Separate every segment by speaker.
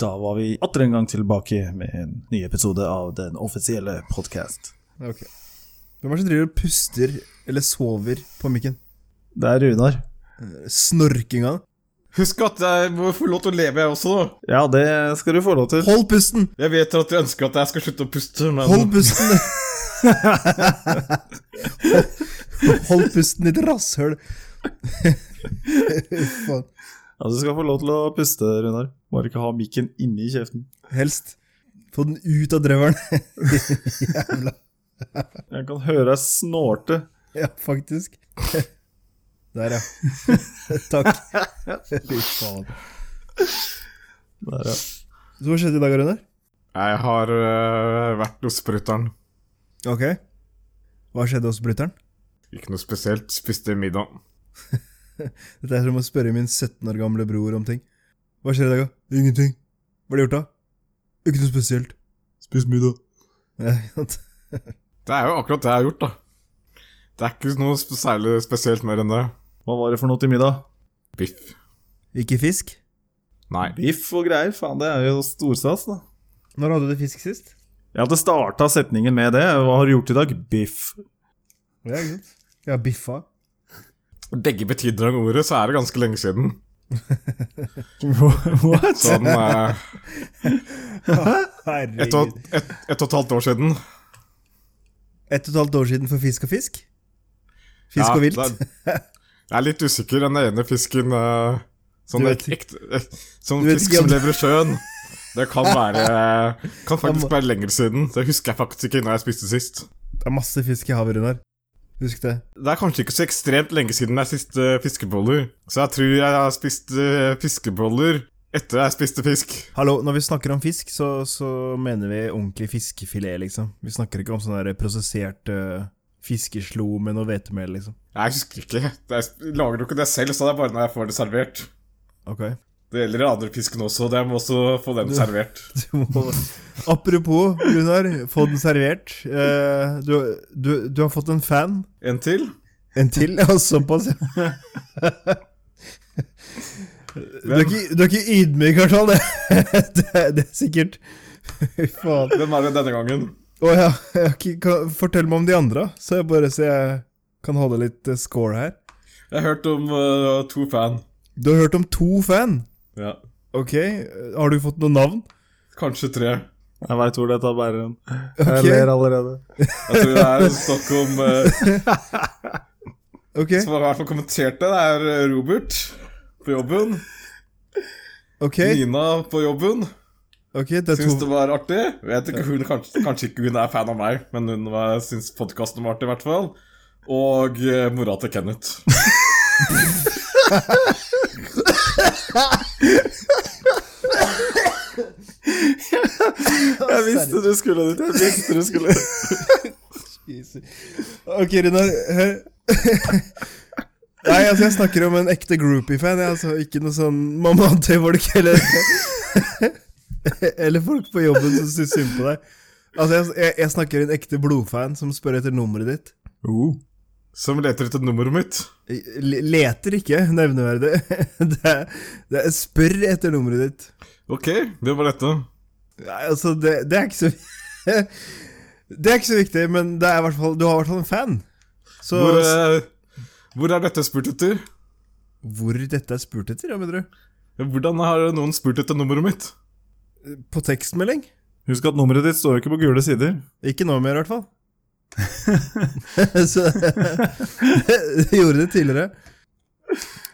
Speaker 1: Da var vi atter en gang tilbake med en ny episode av den offisielle podkast.
Speaker 2: Ok. Hvem er det som driver og puster eller sover på mikken?
Speaker 1: Det er Runar.
Speaker 2: Snorkinga?
Speaker 3: Husk at jeg må få lov til å leve, jeg også. da.
Speaker 1: Ja, det skal du få lov til.
Speaker 2: Hold pusten!
Speaker 3: Jeg vet at dere ønsker at jeg skal slutte å puste, men
Speaker 2: Hold pusten! Hold- Hold pusten, ditt rasshøl. Faen.
Speaker 1: Ja, du skal få lov til å puste, Runar. Bare ikke ha mikken inni kjeften.
Speaker 2: Helst. Få den ut av drøvelen. Jævla
Speaker 1: Jeg kan høre deg snorte.
Speaker 2: Ja, faktisk. Der, ja. Takk. Fy faen.
Speaker 1: Der, ja.
Speaker 2: Så hva skjedde i dag, Runar?
Speaker 3: jeg har øh, vært hos spruteren.
Speaker 2: Ok. Hva skjedde hos bryteren?
Speaker 3: Ikke noe spesielt. Spiste middag.
Speaker 2: Dette er som å spørre min 17 år gamle bror om ting. Hva skjer i dag, da? Ingenting. Hva har du gjort, da? Ikke noe spesielt.
Speaker 1: Spis middag.
Speaker 2: Ja, ikke sant?
Speaker 3: Det er jo akkurat det jeg har gjort, da. Det er ikke noe sp- særlig spesielt mer enn det.
Speaker 1: Hva var det for noe til middag?
Speaker 3: Biff.
Speaker 2: Ikke fisk?
Speaker 3: Nei.
Speaker 1: Biff og greier. Faen, det er jo storsats, da.
Speaker 2: Når hadde du fisk sist?
Speaker 1: Ja, det starta setningen med det. Hva har du gjort i dag? Biff.
Speaker 2: Ja, ikke sant? Ja, biffa.
Speaker 3: Begge betydninger av ordet, så er det ganske lenge siden.
Speaker 1: What?
Speaker 3: Sånn eh, et, og,
Speaker 2: Herregud.
Speaker 3: et, et og et halvt år siden.
Speaker 2: Ett og et halvt år siden for fisk og fisk? Fisk
Speaker 3: Ja,
Speaker 2: og vilt?
Speaker 3: det Jeg er litt usikker. Den ene fisken eh, Sånn
Speaker 2: Du vet
Speaker 3: ek, ekte ek, Sånn
Speaker 2: du vet
Speaker 3: fisk
Speaker 2: ikke om-
Speaker 3: som lever i sjøen. Det kan være Kan
Speaker 2: Jeg må-
Speaker 3: faktisk være lenger siden. Det husker jeg faktisk ikke når jeg spiste sist.
Speaker 2: Det er masse fisk i havet, Runar. Husk det.
Speaker 3: Det er kanskje ikke så ekstremt lenge siden jeg spiste fiskeboller. Så jeg tror jeg har spist eh, fiskeboller etter jeg spiste fisk.
Speaker 2: Hallo, når vi snakker om fisk, så, så mener vi ordentlig fiskefilet, liksom. Vi snakker ikke om sånn der prosessert eh, fiskeslo med noe hvetemel, liksom.
Speaker 3: Jeg husker ikke. Det er, jeg lager jo ikke det selv, så det er bare når jeg får det servert.
Speaker 2: Ok.
Speaker 3: Det gjelder den andre fisken også. Jeg må også få den servert.
Speaker 2: Du må... Apropos, Runar, få den servert. Eh, du, du, du har fått en fan.
Speaker 3: En til.
Speaker 2: En til? Ja, såpass, ja. Du er ikke, du er ikke ydmyk, Kartal. Det, det, er- det er sikkert Fy faen.
Speaker 3: Hvem er det denne gangen?
Speaker 2: Å ja, jeg har ikke- kan- fortell meg om de andre, så jeg bare så jeg kan holde litt eh, score her.
Speaker 3: Jeg har hørt om eh, to fan.
Speaker 2: Du har hørt om to fan?
Speaker 3: Ja.
Speaker 2: Ok, eh, har du fått noen navn?
Speaker 3: Kanskje tre.
Speaker 1: Jeg veit hvor dette bærer hen.
Speaker 2: Ok.
Speaker 1: Jeg ler allerede.
Speaker 3: Jeg tror Altså, det er snakk om eh,
Speaker 2: Ok,
Speaker 3: Som har i hvert fall kommentert det. Det er eh, Robert på jobben.
Speaker 2: ok,
Speaker 3: Nina på jobben.
Speaker 2: ok, det er
Speaker 3: Syns det
Speaker 2: to
Speaker 3: var artig. Vet ikke, hun, kanskje, kanskje ikke hun er fan av meg, men hun var- syns podkasten var artig, i hvert fall. Og eh, mora til Kenneth.
Speaker 1: Jeg visste du skulle dit. Jeg visste du skulle
Speaker 2: Ok, Runar, hør Nei, altså, jeg snakker om en ekte groupie-fan, jeg, altså, ikke noe sånn mamma til folk, eller Eller folk på jobben som syns synd på deg. Altså, jeg, jeg, jeg snakker en ekte blodfan som spør etter nummeret ditt.
Speaker 3: Oh. Som leter etter nummeret mitt.
Speaker 2: Le- Leter ikke, nevneverdig. Det er, det er, spør etter nummeret ditt.
Speaker 3: Ok, det var dette.
Speaker 2: Nei, altså, det, det er ikke så Det er ikke så viktig, men det er i hvert fall, du har i hvert fall en fan. Så
Speaker 3: Hvor,
Speaker 2: hvor,
Speaker 3: eh, hvor er dette spurt etter?
Speaker 2: dette er spurt etter, ja, mener du?
Speaker 3: Hvordan har noen spurt etter nummeret mitt?
Speaker 2: På tekstmelding?
Speaker 1: Husk at nummeret ditt står jo ikke på gule sider.
Speaker 2: Ikke nå mer, i hvert fall. så Jeg gjorde det tidligere.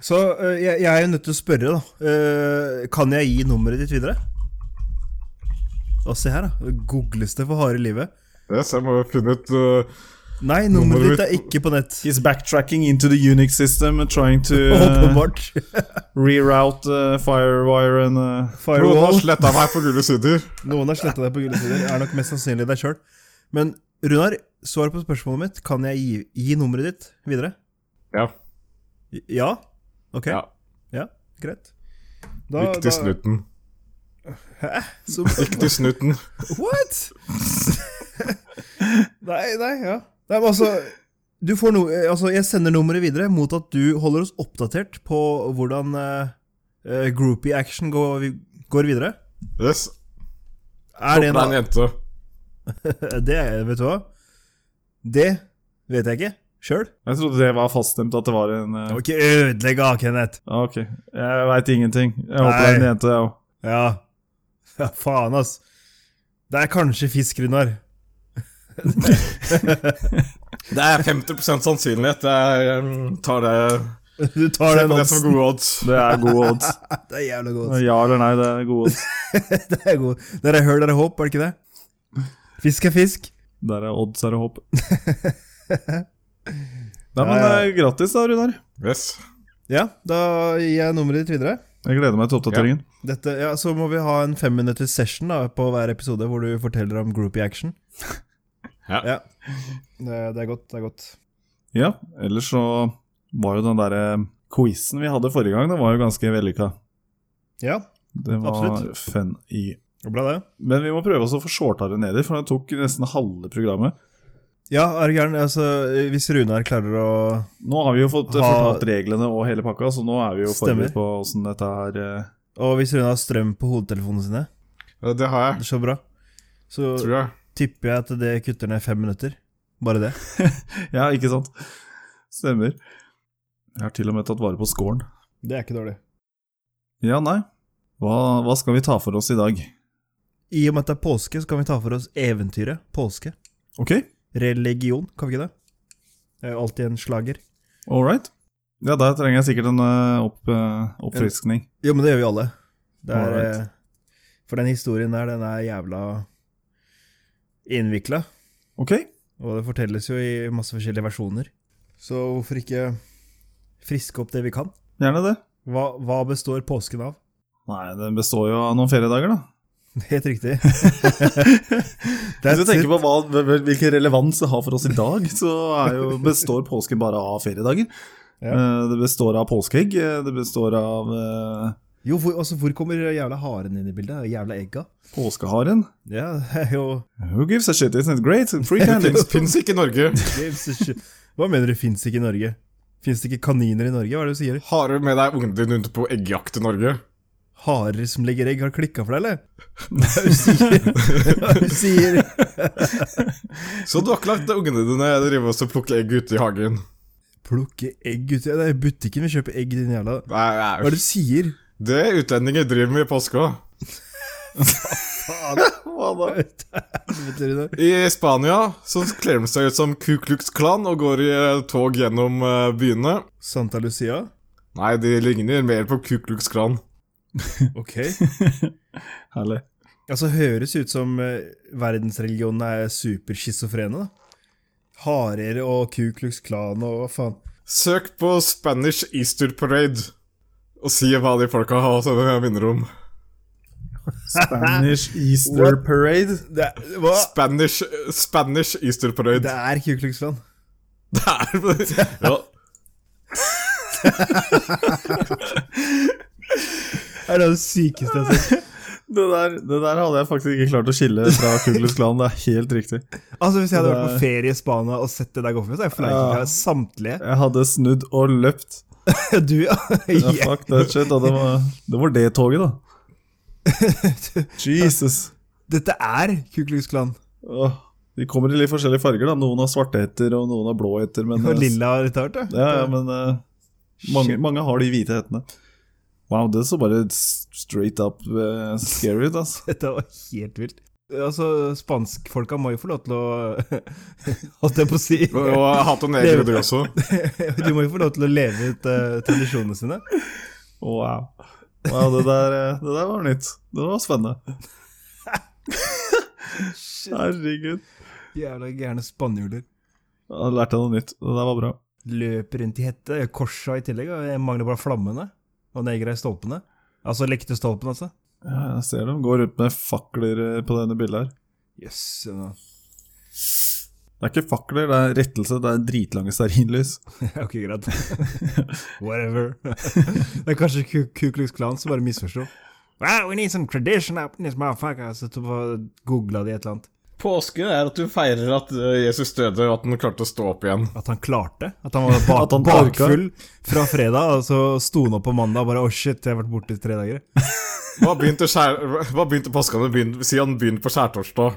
Speaker 2: Så eh, jeg, jeg er jo nødt til å spørre, da. Eh, Kan jeg gi nummeret ditt videre? Og se her, da. Googles det for harde livet?
Speaker 3: Yes, jeg må finne ut eh,
Speaker 2: Nei,
Speaker 3: Nummeret
Speaker 2: nummeret ditt
Speaker 3: mitt-
Speaker 2: er ikke på nett.
Speaker 1: He's backtracking into the Unix system and trying to uh,
Speaker 2: Åpenbart.
Speaker 1: reroute uh, firewire and uh,
Speaker 3: Noen har
Speaker 2: Firewall.
Speaker 3: sletta meg på gule sider.
Speaker 2: Noen har sletta deg på gule sider. Er nok mest sannsynlig deg sjøl. Men Runar, svar på spørsmålet mitt. Kan jeg gi, gi nummeret ditt videre?
Speaker 3: Ja.
Speaker 2: Ja? Ok.
Speaker 3: ja.
Speaker 2: Ja, greit.
Speaker 3: Ikke til snuten.
Speaker 2: Hæ? Så,
Speaker 3: Ikke til snuten.
Speaker 2: what?! nei, nei, ja. Nei, men altså Du får noe eh, Altså, jeg sender nummeret videre mot at du holder oss oppdatert på hvordan eh, eh, groupie action går, går videre.
Speaker 3: Yes.
Speaker 2: Er det
Speaker 3: Det er en
Speaker 2: en eh,
Speaker 3: jente.
Speaker 2: Det er- Vet du hva? Det vet jeg ikke sjøl.
Speaker 1: Jeg trodde det var faststemt at det var en eh,
Speaker 2: Må ikke ødelegge av Kenneth.
Speaker 1: ah, Ok, jeg veit ingenting. Jeg håper det er en
Speaker 2: Nei.
Speaker 1: jente, jeg òg.
Speaker 2: Ja. ja, faen, ass. Det er kanskje fisk, Runar.
Speaker 3: Det er 50 sannsynlighet. Jeg um, tar det,
Speaker 2: Du tar
Speaker 3: ser
Speaker 2: den
Speaker 3: på det som
Speaker 2: oddsen.
Speaker 3: gode odds.
Speaker 1: Det er gode odds.
Speaker 2: Det er jævla godt.
Speaker 1: Ja eller nei, det er gode odds.
Speaker 2: Det er god. Dere høl, dere håp, er det ikke det? Fisk er fisk.
Speaker 1: Der er odds, er det håp. Nei, men
Speaker 2: Ja,
Speaker 1: eh, Grattis, da, Runar.
Speaker 3: Yes.
Speaker 2: Ja, da gir jeg nummeret ditt videre.
Speaker 1: Jeg gleder meg til oppdateringen.
Speaker 2: Dette, ja, Så må vi ha en femminutters session da, på hver episode hvor du forteller om groupie action.
Speaker 3: Ja.
Speaker 2: Det, det er godt. det er godt
Speaker 1: Ja, ellers så var jo den derre quizen vi hadde forrige gang, det var jo ganske vellykka.
Speaker 2: Ja,
Speaker 1: Det var
Speaker 2: Absolutt.
Speaker 1: fun i
Speaker 2: det ble det.
Speaker 1: Men vi må prøve oss å få shorta det nedi, for det tok nesten halve programmet.
Speaker 2: Ja, er du gæren? Altså, hvis Runar klarer å
Speaker 1: Nå har vi jo fått eh,
Speaker 2: Ha-
Speaker 1: fortalt reglene og hele pakka, så nå er vi jo
Speaker 2: Stemmer.
Speaker 1: forberedt på åssen dette her eh,
Speaker 2: Og hvis Runar har strøm på hodetelefonene sine,
Speaker 3: Det har jeg,
Speaker 2: så bra. Så
Speaker 3: tror jeg.
Speaker 2: tipper jeg at det kutter ned fem minutter. Bare det.
Speaker 1: Ja, ikke sant? Stemmer. Jeg har til og med tatt vare på scoren.
Speaker 2: Det er ikke dårlig.
Speaker 1: Ja, nei. Hva, hva skal vi ta for oss i dag?
Speaker 2: I og med at det er påske, så kan vi ta for oss eventyret påske.
Speaker 1: Ok,
Speaker 2: Religion, kan vi ikke det? Det er jo alltid en slager.
Speaker 1: all right. Ja, der trenger jeg sikkert en eh, opp, eh, oppfriskning.
Speaker 2: Jo, men det gjør vi alle. Det er,
Speaker 1: Alright.
Speaker 2: eh, for den historien der, den er jævla innvikla.
Speaker 1: Ok,
Speaker 2: Og det fortelles jo i masse forskjellige versjoner. Så hvorfor ikke friske opp det vi kan?
Speaker 1: gjerne det.
Speaker 2: Hva, hva består påsken av?
Speaker 1: Nei, den består jo av noen feriedager, da.
Speaker 2: Helt riktig.
Speaker 1: Hvis
Speaker 2: That's
Speaker 1: du tenker
Speaker 2: it.
Speaker 1: på hva, hvil- hvilken relevans det har for oss i dag, så er jo, består påsken bare av feriedager.
Speaker 2: Ja.
Speaker 1: Eh, Det består av påskeegg, eh, det består av eh,
Speaker 2: Jo, hvor, altså, hvor kommer jævla haren inn i bildet? Jævla egga?
Speaker 1: påskeharen.
Speaker 2: Ja, det er jo
Speaker 1: Who gives a shit, isn't it great? Free candy.
Speaker 3: Fins ikke i Norge.
Speaker 2: James, shit. Hva mener du fins ikke i Norge? Fins det ikke kaniner i Norge? Hva er det du sier?
Speaker 3: Har du med deg ungen din rundt på eggjakt i Norge?
Speaker 2: Harer som legger egg, har klikka for deg, eller? Hva er det du sier? Hva er det du sier?
Speaker 3: Så du har ikke lagt ungene dine drive oss og plukke egg ute i hagen?
Speaker 2: Plukke egg ut Det er jo butikken vi kjøper egg i, din jævla Hva
Speaker 3: Nei,
Speaker 2: er
Speaker 3: nei.
Speaker 2: det du sier?
Speaker 3: Det utlendinger driver med i påska.
Speaker 1: Hva da?
Speaker 2: Helvete, Runar.
Speaker 3: I Spania så kler de seg ut som Ku Klux Klan og går i eh, tog gjennom eh, byene.
Speaker 2: Santa Lucia?
Speaker 3: Nei, de ligner mer på Ku Klux Klan.
Speaker 2: Ok.
Speaker 1: Herlig.
Speaker 2: Altså, høres ut som eh, verdensreligionene er superschizofrene, da. Harer og Ku Klux Klan og hva faen.
Speaker 3: Søk på Spanish Easter Parade og si hva de folka har som jeg minner om.
Speaker 1: Spanish Easter
Speaker 2: What?
Speaker 1: Parade.
Speaker 2: Det er, hva?
Speaker 3: Spanish, Spanish Easter Parade.
Speaker 2: Det er Ku Klux Klan.
Speaker 3: Det er ja.
Speaker 2: Det er det sykeste jeg har sett.
Speaker 1: Det der, det der hadde jeg faktisk ikke klart å skille fra Kuglus Klan, det er helt riktig.
Speaker 2: Altså, hvis jeg hadde
Speaker 1: Det
Speaker 2: vært
Speaker 1: er-
Speaker 2: på ferie i Spania og sett det der gå for meg, så hadde jeg
Speaker 1: Ja.
Speaker 2: fleiket ja. samtlige.
Speaker 1: Jeg hadde snudd og løpt.
Speaker 2: Du, ja.
Speaker 1: Ja, fuck that shit, da. Det var det, var det toget, da. Jesus.
Speaker 2: Dette er Ku Klux Klan.
Speaker 1: Åh, de kommer i litt forskjellige farger, da. Noen har svarte hetter, og noen har blå hetter. Men,
Speaker 2: Og lilla og litt av hvert,
Speaker 1: Ja, ja, men eh, mange, mange har de hvite hettene. Wow, det så bare straight up eh, scary ut, altså.
Speaker 2: Dette var helt vilt. Altså, spanskfolka må jo få lov til å Holdt jeg på å si.
Speaker 3: Og jeg hater negere, du også.
Speaker 2: De må jo få lov til å leve ut eh, tradisjonene sine.
Speaker 1: Wow. Wow, det der, eh, det der var nytt. Det var spennende. Herregud.
Speaker 2: Jævla gærne spanjoler.
Speaker 1: Jeg har lært deg noe nytt. Det der var bra.
Speaker 2: Løper rundt i hette, gjør korsa i tillegg, og jeg mangler bare flammene. Og negra i stolpene. Altså lektestolpene, altså.
Speaker 1: Ja, jeg ser dem går rundt med fakler eh, på denne bildet her.
Speaker 2: Jøss. Yes,
Speaker 1: Det er ikke fakler, det er rettelse. Det er dritlange stearinlys.
Speaker 2: ok, greit. Whatever. Det er kanskje Ku- Ku Klux Klan som bare misforsto. Wow, we need some tradition up in this motherfucker. Så googla de et eller annet.
Speaker 3: påske er at du feirer at eh, Jesus døde, og at han klarte å stå opp igjen.
Speaker 2: At han klarte? At han var bak,
Speaker 1: At han orka.
Speaker 2: bakfull fra fredag, og så sto han opp på mandag og bare 'Å, shit, jeg har vært borte i tre dager'.
Speaker 3: Hva begynte, skjær... Hva begynte påska med? Begyn... Si han begynner på skjærtorsdag.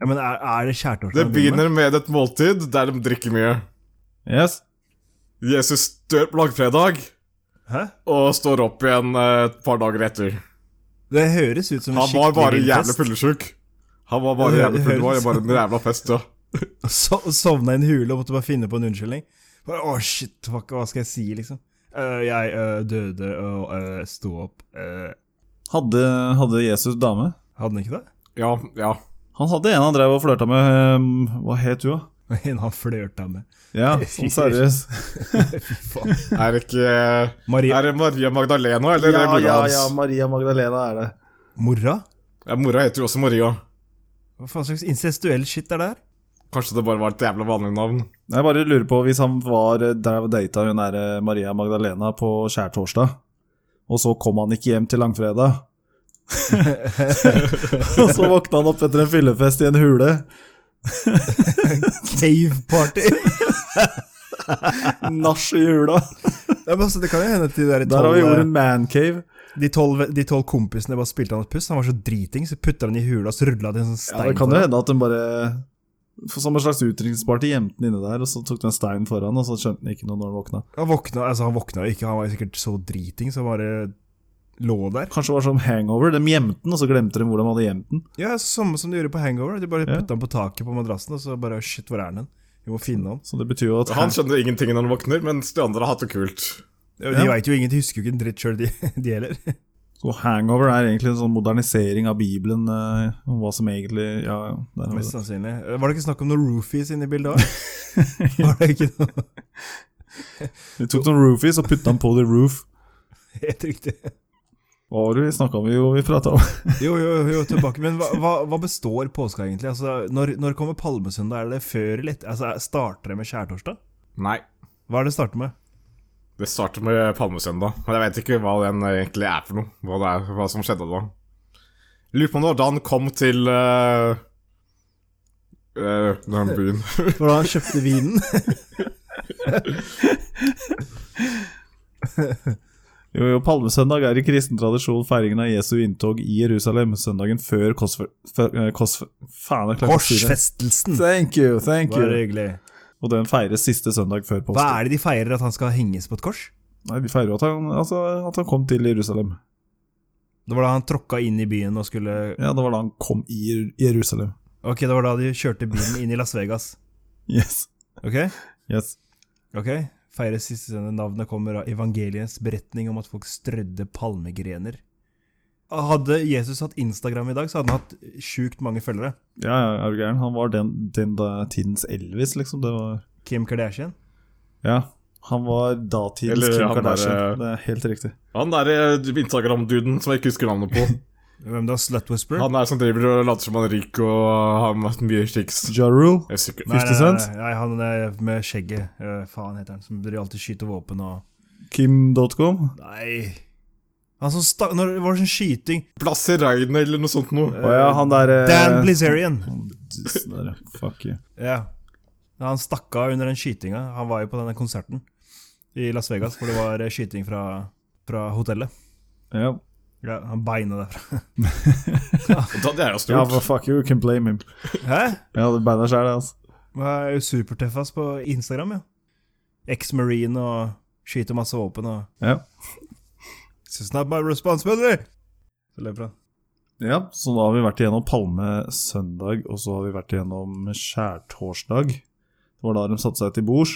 Speaker 2: Ja, men er, er det kjærtorsdag?
Speaker 3: Det
Speaker 2: han driver med?
Speaker 3: begynner med et måltid der de drikker mye.
Speaker 1: Yes.
Speaker 3: Jesus dør på langfredag
Speaker 2: Hæ?
Speaker 3: og står opp igjen eh, et par dager etter.
Speaker 2: Det høres ut som en
Speaker 3: Han var bare
Speaker 2: vill
Speaker 3: jævlig
Speaker 2: fest.
Speaker 3: fullesjuk. Han var
Speaker 2: Ja,
Speaker 3: bare
Speaker 2: det
Speaker 3: jævlig full, det var
Speaker 2: høres-
Speaker 3: bare en jævla fest, ja.
Speaker 2: So sovna i en hule og måtte bare finne på en unnskyldning. Bare, Å, shit, fuck, hva skal jeg si, liksom? «Øh, jeg øh, døde og øh, sto opp. øh».
Speaker 1: Hadde, hadde Jesus dame?
Speaker 2: hadde han ikke det?
Speaker 3: Ja, ja.
Speaker 1: Han hadde en han drev og flørta med. ehm, hva het hun, da?
Speaker 2: En han flørta med.
Speaker 1: Ja, sånn seriøst.
Speaker 2: Fy faen.
Speaker 3: Er det ikke eh,
Speaker 2: Maria
Speaker 3: Er det Maria Magdalena, eller er det mora hans?
Speaker 1: Maria Magdalena er det.
Speaker 2: Mora?
Speaker 3: Ja, mora heter jo også Maria.
Speaker 2: Hva faen slags incestuell shit er det her?
Speaker 3: Kanskje det bare var et jævla vanlig navn.
Speaker 1: Jeg bare lurer på, hvis han var der og data hun der eh, Maria Magdalena på skjærtorsdag, og så kom han ikke hjem til langfredag Og så våkna han opp etter en fyllefest i en hule.
Speaker 2: Cave party!
Speaker 1: Nach i hula.
Speaker 2: Ja, men altså, det kan jo hende at de der
Speaker 1: Der har vi gjort
Speaker 2: tolv, eh,
Speaker 1: en mancave.
Speaker 2: de tolv, de tolv kompisene bare spilte han et puss. Han var så driting, så putta han i hula, så rulla det en sånn
Speaker 1: Ja,
Speaker 2: stein.
Speaker 1: det kan
Speaker 2: for
Speaker 1: jo
Speaker 2: han.
Speaker 1: hende at hun bare for Som en slags utrykningsparty gjemte han inne der, og så tok du en stein foran, og så skjønte han ikke noe når han våkna.
Speaker 2: Han våkna altså, han våkna jo ikke, han var jo sikkert så driting, så han bare lå der.
Speaker 1: Kanskje det var som hangover. De gjemte den, og så glemte de hvor de hadde gjemt den.
Speaker 2: Ja, samme som de gjorde på Hangover. De bare
Speaker 1: Ja.
Speaker 2: putta den på taket på madrassen, og så bare Shit, hvor er den? Vi må finne den.
Speaker 1: Så det betyr jo at
Speaker 3: Han skjønner ingenting når han våkner, mens de andre har hatt det kult.
Speaker 1: Ja.
Speaker 2: De vet veit jo ingen, de husker jo ikke en dritt sjøl, de, de heller.
Speaker 1: Så hangover er egentlig en sånn modernisering av Bibelen, eh, om hva som egentlig Ja, ja, der har vi
Speaker 2: Mest
Speaker 1: det.
Speaker 2: sannsynlig. Var det ikke snakk om noen roofies inne i bildet òg? Var det ikke noe
Speaker 1: Vi tok noen roofies og putta den på the roof.
Speaker 2: helt riktig?
Speaker 1: Hva var det vi snakka om? Jo, vi prata om
Speaker 2: Jo, jo, jo, tilbake. Men hva, hva, hva består påska egentlig? Altså, når, når kommer palmesøndag? Er det før eller etter? Altså, er- starter det med skjærtorsdag?
Speaker 3: Nei.
Speaker 2: Hva er det det starter med?
Speaker 3: Det starter med palmesøndag, men jeg vet ikke hva den egentlig er for noe. Hva, det er, hva som skjedde da. Jeg Lurer på om det var da han kom til uh, den byen.
Speaker 2: Når han kjøpte vinen?
Speaker 1: Jo, jo, Palmesøndag er i kristen tradisjon feiringen av Jesu inntog i Jerusalem søndagen før korsfer... før- eh, korsfer- Faen, jeg klarer ikke å si det.
Speaker 2: Korsfestelsen!
Speaker 1: Thank you, thank
Speaker 2: Bare
Speaker 1: you.
Speaker 2: hyggelig.
Speaker 1: Og den feires siste søndag før
Speaker 2: Hva
Speaker 1: påske.
Speaker 2: er det de feirer? At han skal henges på et kors?
Speaker 1: Nei, Vi feirer jo at han, altså, at han kom til Jerusalem.
Speaker 2: Det var da han tråkka inn i byen og skulle
Speaker 1: Ja, det var da han kom i Jer- Jerusalem.
Speaker 2: Ok, det var da de kjørte bilen inn i Las Vegas.
Speaker 1: Yes.
Speaker 2: Ok?
Speaker 1: yes.
Speaker 2: Ok? Feires siste søndag. Navnet kommer av evangeliens beretning om at folk strødde palmegrener. Hadde Jesus hatt Instagram i dag, så hadde han hatt sjukt mange følgere.
Speaker 1: Ja, ja, er du gæren? Han var den, den da, tidens Elvis, liksom. Det var
Speaker 2: Kim Kardashian.
Speaker 1: Ja. Han var datidens
Speaker 3: Eller
Speaker 1: Kim
Speaker 3: han
Speaker 1: Kardashian.
Speaker 3: der, eh,
Speaker 1: Det er helt riktig.
Speaker 3: Han derre Instagram-duden som jeg ikke husker navnet på.
Speaker 2: Hvem da? Slut Whisperer?
Speaker 3: Han er som driver og later som han er rik og har mye chicks.
Speaker 1: Ja Rule.
Speaker 3: Jeg er sikker.
Speaker 2: Nei, nei,
Speaker 1: 50 Cent?
Speaker 2: Nei, nei, han er med skjegget. Eh, faen heter han. Som driver alltid skyter våpen og
Speaker 1: Kim.com.
Speaker 2: Nei. Han som stakk Når var det sånn skyting?
Speaker 3: Blasse Reine eller noe sånt noe.
Speaker 1: Å ja, han eh, derre
Speaker 2: Dan Blizzarian.
Speaker 1: Fuck you.
Speaker 2: Ja. Han stakk av under den skytinga. Han var jo på denne konserten i Las Vegas hvor det var eh, skyting fra, fra hotellet.
Speaker 1: Ja.
Speaker 2: Ja, han beina derfra.
Speaker 3: Da, det er jo
Speaker 1: ja,
Speaker 3: stort.
Speaker 1: for fuck you, you can blame him.
Speaker 2: Hæ?
Speaker 1: Ja, det bandet sjæl, det, altså.
Speaker 2: Han er jo supertøff ass på Instagram, ja. Ex-marine og skyter masse våpen og
Speaker 1: Ja.
Speaker 2: It's not my responsibility! Så løper han.
Speaker 1: ja, så da har vi vært igjennom Palmesøndag, og så har vi vært igjennom Skjærtorsdag. Det var da de satte seg til bords.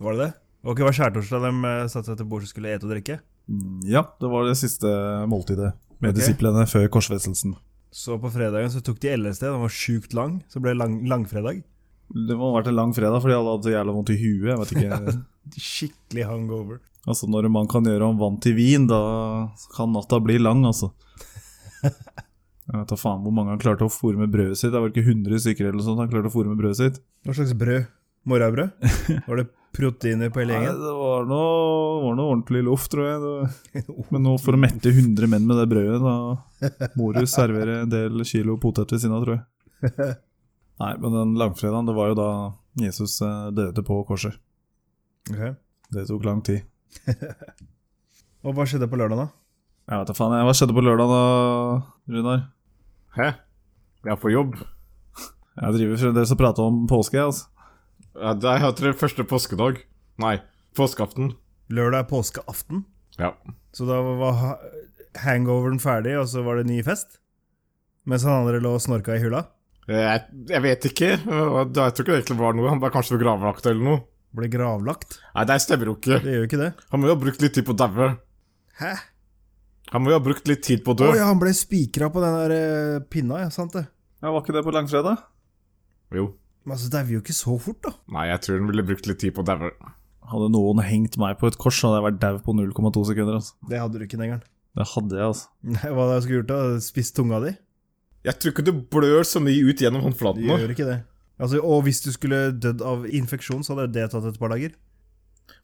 Speaker 2: Var det det? Og ikke var skjærtorsdag de eh, satte seg til bords og skulle ete og drikke.
Speaker 1: Mm, Ja, det var det siste måltidet med
Speaker 2: Ok.
Speaker 1: disiplene før korsfestelsen.
Speaker 2: Så på fredagen så tok de LSD, den var sjukt lang, så ble det lang, langfredag.
Speaker 1: Det må ha vært en lang fredag, for de hadde hatt så jævla vondt i huet. Jeg vet ikke.
Speaker 2: Skikkelig hungover.
Speaker 1: Altså Når man kan gjøre om vann til vin, da kan natta bli lang, altså. Jeg vet da faen hvor mange han klarte å fôre med brødet sitt. Det var ikke 100 stykker eller noe sånt han klarte å fôre med brødet sitt.
Speaker 2: Hva slags brød? Morrabrød? Var det proteiner på hele
Speaker 1: Nei,
Speaker 2: gjengen?
Speaker 1: det var noe, var noe ordentlig loff, tror jeg. Det, men nå for å mette 100 menn med det brødet, da må du servere en del kilo potet ved siden av, tror jeg. Nei, men den langfredagen, det var jo da Jesus eh, døde på korset.
Speaker 2: Ok.
Speaker 1: Det tok lang tid.
Speaker 2: Og hva skjedde på lørdag, da?
Speaker 1: Jeg vet da faen, jeg. Hva skjedde på lørdag da, Runar?
Speaker 3: Hæ? Jeg er på jobb.
Speaker 1: Jeg driver fremdeles og prater om påske, jeg, altså.
Speaker 3: Ja, Det er etter første påskedag. Nei, påskeaften.
Speaker 2: Lørdag er påskeaften,
Speaker 3: Ja.
Speaker 2: så da var ha- hangoveren ferdig, og så var det ny fest? Mens han andre lå og snorka i hula?
Speaker 3: Jeg, jeg vet ikke. og da- Jeg tror ikke det egentlig var noe. Han var kanskje ved gravvakt eller noe.
Speaker 2: Ble gravlagt?
Speaker 3: Nei, det stemmer jo ikke.
Speaker 2: Det gjør jo ikke det.
Speaker 3: Han må jo ha brukt litt tid på å daue.
Speaker 2: Hæ?
Speaker 3: Han må jo ha brukt litt tid på å
Speaker 2: Å
Speaker 3: dø.
Speaker 2: ja, han ble spikra på den der eh, pinna, ja, sant det?
Speaker 1: Ja, Var ikke det på langfredag?
Speaker 3: Jo.
Speaker 2: Men altså, dauer jo ikke så fort, da.
Speaker 3: Nei, jeg tror han ville brukt litt tid på å daue.
Speaker 1: Hadde noen hengt meg på et kors, hadde jeg vært dau på 0,2 sekunder. altså.
Speaker 2: Det hadde du ikke, Nengeren.
Speaker 1: Det hadde jeg, altså.
Speaker 2: Nei, hva hadde jeg skulle gjort da? Spist tunga di?
Speaker 3: Jeg tror ikke du blør så mye ut gjennom håndflaten
Speaker 2: Du
Speaker 3: nå.
Speaker 2: gjør ikke det. Altså, og hvis du skulle dødd av infeksjon, så hadde det tatt et par dager.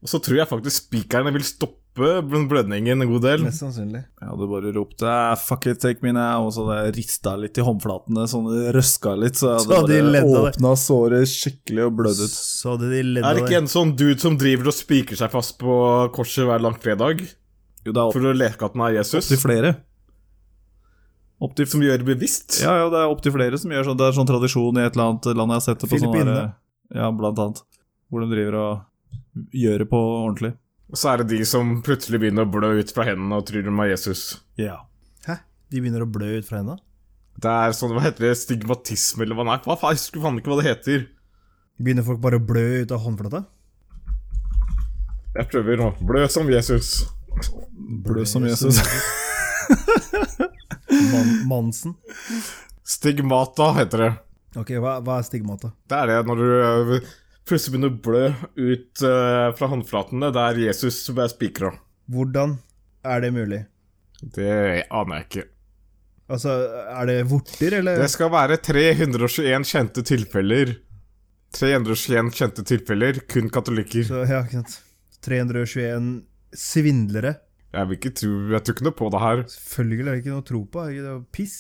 Speaker 3: Og så tror jeg faktisk spikerne vil stoppe bl- blødningen en god del.
Speaker 2: Mest sannsynlig.
Speaker 1: Jeg hadde bare ropt «Ah, 'fuck it, take me now', og så hadde jeg rista litt i håndflatene, sånn det røska litt, så jeg
Speaker 2: Så hadde de
Speaker 1: hadde
Speaker 2: ledd
Speaker 1: bare
Speaker 2: av det.
Speaker 1: åpna såret skikkelig og blødd ut.
Speaker 2: Så hadde de ledd
Speaker 3: Er
Speaker 2: av
Speaker 3: det ikke
Speaker 2: det.
Speaker 3: en sånn dude som driver og spiker seg fast på korset hver langfredag
Speaker 1: Jo, det er
Speaker 3: for å leke at han er Jesus?
Speaker 1: opptil flere. Opptil
Speaker 3: Som gjør det bevisst?
Speaker 1: Ja, ja, det er opptil flere som gjør sånn. Det er sånn tradisjon i et eller annet land jeg har sett det på. sånn
Speaker 2: Filippinene.
Speaker 1: der- Ja, blant annet. Hvor de driver og gjør det på ordentlig.
Speaker 3: Og så er det de som plutselig begynner å blø ut fra hendene og tror de er Jesus.
Speaker 1: Ja.
Speaker 2: Hæ? De begynner å blø ut fra henda?
Speaker 3: Det er sånn, hva heter det, stigmatisme eller hva nei, hva faen, jeg husker faen ikke hva det heter.
Speaker 2: Begynner folk bare å blø ut av håndflata?
Speaker 3: Jeg prøver nå. Blø som Jesus.
Speaker 1: Blød som Jesus.
Speaker 2: Man, mansen.
Speaker 3: Stigmata heter det.
Speaker 2: Ok, hva, hva er stigmata?
Speaker 3: Det er det når du ø, plutselig begynner å blø ut ø, fra håndflatene der Jesus er spikra.
Speaker 2: Hvordan er det mulig?
Speaker 3: Det aner jeg ikke.
Speaker 2: Altså, er det vorter, eller?
Speaker 3: Det skal være 321 kjente tilfeller. 321 kjente tilfeller, kun katolikker.
Speaker 2: Så, ja, ikke sant. 321 svindlere.
Speaker 3: Jeg vil ikke tro, jeg tror ikke noe på det her.
Speaker 2: Selvfølgelig er det ikke noe å tro på. Er det ikke det piss?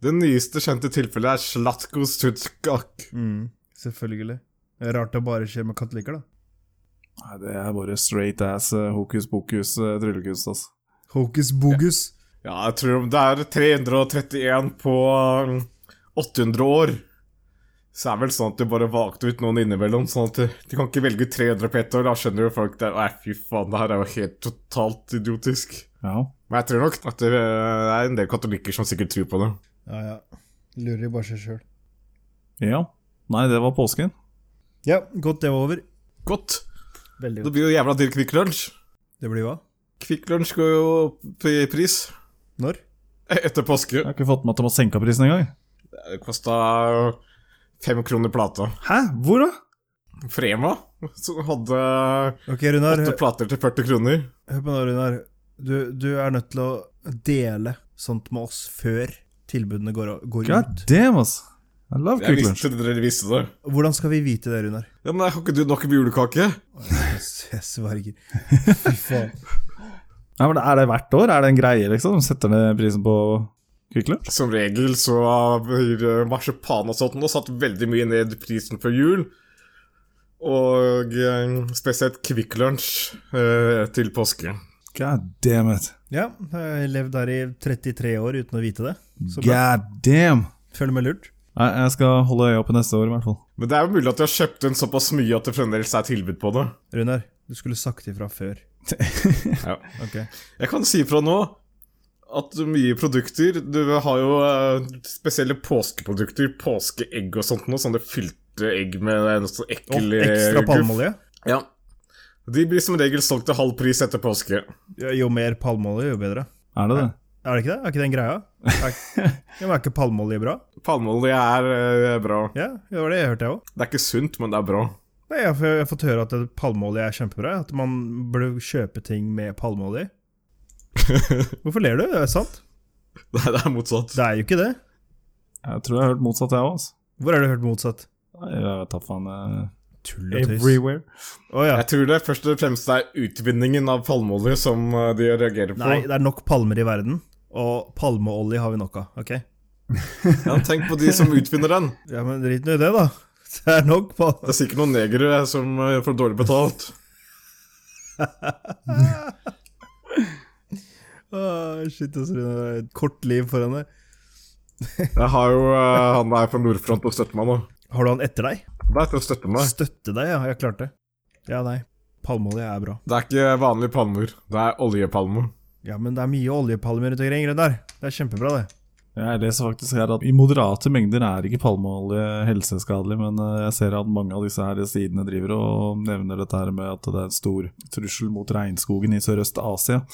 Speaker 3: Det nyeste kjente tilfellet er Slatko Sutskak.
Speaker 2: Mm, selvfølgelig. Det er Rart det bare skjer med katolikker, da.
Speaker 1: Nei, det er bare straight ass eh, hokus pokus eh, tryllekunst, altså.
Speaker 2: Hokus bogus.
Speaker 3: Ja, jeg tror det er 331 på ø, 800 år. Så er det vel sånn at de bare valgte ut noen innimellom. sånn at De de kan ikke velge ut 300 på ett år. Da skjønner jo folk det. Nei, fy faen, det her er jo helt totalt idiotisk.
Speaker 1: Ja.
Speaker 3: Men jeg tror nok at det ø, er en del katolikker som sikkert tror på det.
Speaker 2: Ja, ja. Lurer bare seg sjøl.
Speaker 1: ja. Nei, det var påsken.
Speaker 2: Ja, godt det var over.
Speaker 3: Godt.
Speaker 2: Veldig
Speaker 3: Det blir jo jævla dyr Kvikk Lunsj.
Speaker 2: Det blir hva?
Speaker 3: Kvikk Lunsj går jo opp i pris
Speaker 2: Når?
Speaker 3: etter påske.
Speaker 1: Jeg har ikke fått med at de har senka prisen engang.
Speaker 3: Det kosta fem kroner plata.
Speaker 1: Hæ? Hvor da?
Speaker 3: Frema som hadde
Speaker 2: Ok, Runar.
Speaker 3: åtte
Speaker 2: Hør
Speaker 3: plater til 40 kroner.
Speaker 2: hør på nå, Runar. Du, du er nødt til å dele sånt med oss før tilbudene går, går
Speaker 1: God
Speaker 2: ut.
Speaker 1: damn, ass. I love
Speaker 3: Jeg
Speaker 1: Quick Lunch.
Speaker 3: visste dere visste det.
Speaker 2: Hvordan skal vi vite det, Runar?
Speaker 3: Ja, Men har ikke du nok med julekake?
Speaker 2: Jeg sverger. Fy faen.
Speaker 1: Ja, men Er det hvert år? Er det en greie, liksom? De Setter ned prisen på Quick Lunch?
Speaker 3: Som regel så har marsipan og sånt nå satt veldig mye ned prisen før jul. Og eh, spesielt Kvikk Lunsj eh, til påske.
Speaker 1: God damn it.
Speaker 2: Ja, jeg har levd her i 33 år uten å vite det. Så bra.
Speaker 1: God damn.
Speaker 2: Føler meg lurt.
Speaker 1: Nei, jeg skal holde øya oppe neste år, i hvert fall.
Speaker 3: Men det er jo mulig at de har kjøpt inn såpass mye at det fremdeles er tilbud på det.
Speaker 2: Runar, du skulle sagt ifra før.
Speaker 3: Ja.
Speaker 2: Ok.
Speaker 3: Jeg kan si fra nå at mye produkter Du har jo eh, spesielle påskeprodukter, påskeegg og sånt noe, sånne fylte egg med en sånn
Speaker 2: Og
Speaker 3: ekkel
Speaker 2: ekstra
Speaker 3: guff.
Speaker 2: palmeolje.
Speaker 3: Ja. De blir som regel solgt til halv pris etter påske.
Speaker 2: Ja, Jo mer palmeolje, jo bedre.
Speaker 1: Er det det?
Speaker 2: Er det ikke det? Er ikke det en greia? Er, ja, men er ikke palmeolje bra?
Speaker 3: Palmeolje er eh, bra.
Speaker 2: Ja, det var det jeg hørte, jeg òg.
Speaker 3: Det er ikke sunt, men det er bra.
Speaker 2: Jeg, har- jeg har fått høre at det- palmeolje er kjempebra. At man burde kjøpe ting med palmeolje. Hvorfor ler du? Det er sant.
Speaker 3: Nei, det er motsatt.
Speaker 2: Det er jo ikke det.
Speaker 1: Jeg tror jeg har hørt motsatt, jeg òg, altså.
Speaker 2: Hvor har du hørt motsatt?
Speaker 1: Nei, Jeg vet da faen. eh,
Speaker 2: Tull og tøys.
Speaker 1: Everywhere.
Speaker 2: Å ja.
Speaker 3: Jeg tror det først og fremst er utvinningen av palmeolje som eh, de reagerer på.
Speaker 2: Nei, det er nok palmer i verden, og palmeolje har vi nok av. ok?
Speaker 3: Ja, tenk på de som utvinner den.
Speaker 2: Ja, men drit nå i det, da. Det er nok, faen.
Speaker 3: Det er sikkert noen negere som eh, får dårlig betalt.
Speaker 2: Åh, shit, altså, det er et kort liv foran deg.
Speaker 3: Jeg har jo eh, han der fra Nordfront og støtter meg nå.
Speaker 2: Har du han etter deg?
Speaker 3: Det er til å støtte meg.
Speaker 2: Støtte deg, ja. Jeg klarte det. Ja, nei. Palmeolje er bra.
Speaker 3: Det er ikke vanlige palmer. Det er oljepalmer.
Speaker 2: Ja, men det er mye oljepalmer rundt omkring. Reidar. Det er kjempebra, det.
Speaker 1: Jeg leser faktisk her at i moderate mengder er ikke palmeolje helseskadelig, men eh, jeg ser at mange av disse her sidene driver og nevner dette her med at det er en stor trussel mot regnskogen i Sørøst-Asia. eh,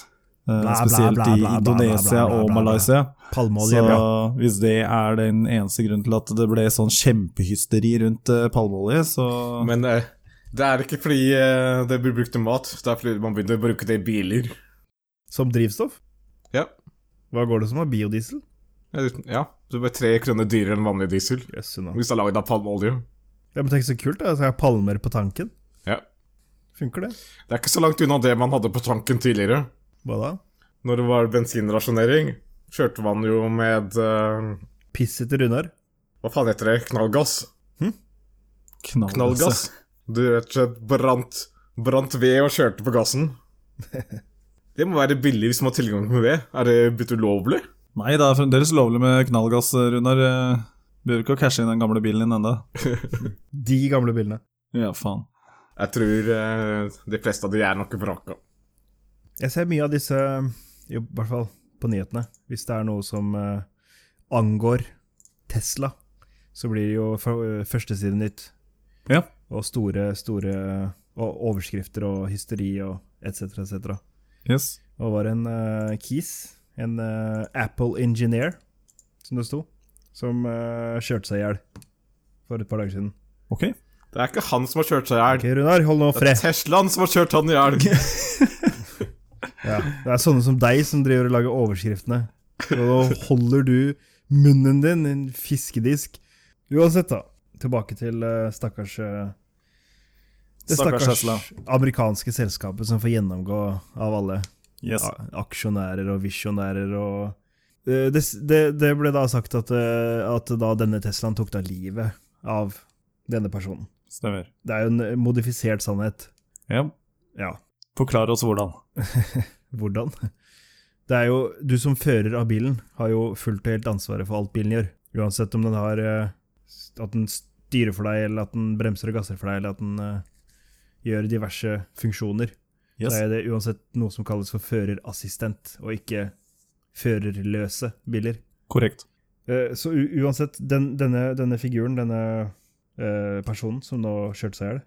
Speaker 2: bla,
Speaker 1: Spesielt
Speaker 2: bla,
Speaker 1: i
Speaker 2: bla, bla, bla,
Speaker 1: Indonesia
Speaker 2: bla, bla,
Speaker 1: og
Speaker 2: bla, bla.
Speaker 1: Malaysia.
Speaker 2: Palmeolje
Speaker 1: Så
Speaker 2: er bra.
Speaker 1: hvis det er den eneste grunnen til at det ble sånn kjempehysteri rundt eh, palmeolje, så
Speaker 3: Men eh, det er ikke fordi eh, det blir brukt til mat. Det er fordi man begynner å bruke det i biler.
Speaker 2: Som drivstoff?
Speaker 3: Ja.
Speaker 2: Hva går det som av biodiesel?
Speaker 3: Eller, Ja, Du blir tre kroner dyrere enn vanlig diesel
Speaker 2: Jøsse nå.
Speaker 3: hvis det er lagd av palmeolje.
Speaker 2: Ja, men tenk så kult, da. Så jeg har palmer på tanken.
Speaker 3: Ja.
Speaker 2: Funker det?
Speaker 3: Det er ikke så langt unna det man hadde på tanken tidligere.
Speaker 2: Hva da?
Speaker 3: Når det var bensinrasjonering, kjørte man jo med eh,
Speaker 2: Pisset til Runar?
Speaker 3: Hva faen heter det? Knallgass?
Speaker 1: knall,
Speaker 3: Knallgass? Altså. Du rett og slett brant, brant ved og kjørte på gassen. Det må være billig hvis man har tilgang på ved. Er det blitt ulovlig?
Speaker 1: Nei, det er fremdeles lovlig med knallgass, Runar. Eh, Behøver ikke å cashe inn den gamle bilen din ennå.
Speaker 2: De gamle bilene.
Speaker 1: Ja, faen.
Speaker 3: Jeg tror eh, de fleste av de er nok vraka.
Speaker 2: Jeg ser mye av disse, i hvert fall på nyhetene, hvis det er noe som eh, angår Tesla, så blir det jo f- eh, førstesiden nytt.
Speaker 1: Ja.
Speaker 2: Og store, store og overskrifter og hysteri og etc., etc.
Speaker 1: Yes.
Speaker 2: Og var en eh, Keys, en eh, Apple engineer, som det sto, som eh, kjørte seg i hjel for et par dager siden.
Speaker 1: Ok.
Speaker 3: Det er ikke han som har kjørt seg i hjel.
Speaker 2: Ok, Runar, hold nå
Speaker 3: Det er
Speaker 2: fred.
Speaker 3: Teslaen som har kjørt han i hjel.
Speaker 2: Ja, det er sånne som deg som driver og lager overskriftene. Og da holder du munnen din, en fiskedisk. Uansett, da. Tilbake til eh, stakkars eh, Det
Speaker 1: Stakkars
Speaker 2: stakkars
Speaker 1: Tesla.
Speaker 2: amerikanske selskapet som får gjennomgå av alle
Speaker 1: Yes.
Speaker 2: a- aksjonærer og visjonærer og Eh, det, det, det ble da sagt at, eh, at da denne Teslaen tok da livet av denne personen.
Speaker 1: Stemmer.
Speaker 2: Det er jo en eh, modifisert sannhet.
Speaker 1: Ja.
Speaker 2: Ja.
Speaker 1: Forklar oss hvordan.
Speaker 2: Hvordan? Det er jo, Du som fører av bilen, har jo fullt og helt ansvaret for alt bilen gjør. Uansett om den har eh, At den styrer for deg, eller at den bremser og gasser for deg, eller at den eh, gjør diverse funksjoner.
Speaker 1: Yes.
Speaker 2: Da er det uansett noe som kalles for førerassistent, og ikke førerløse biler.
Speaker 1: Korrekt.
Speaker 2: Eh, så u uansett, den, denne, denne figuren, denne eh, personen som nå kjørte seg i hjel,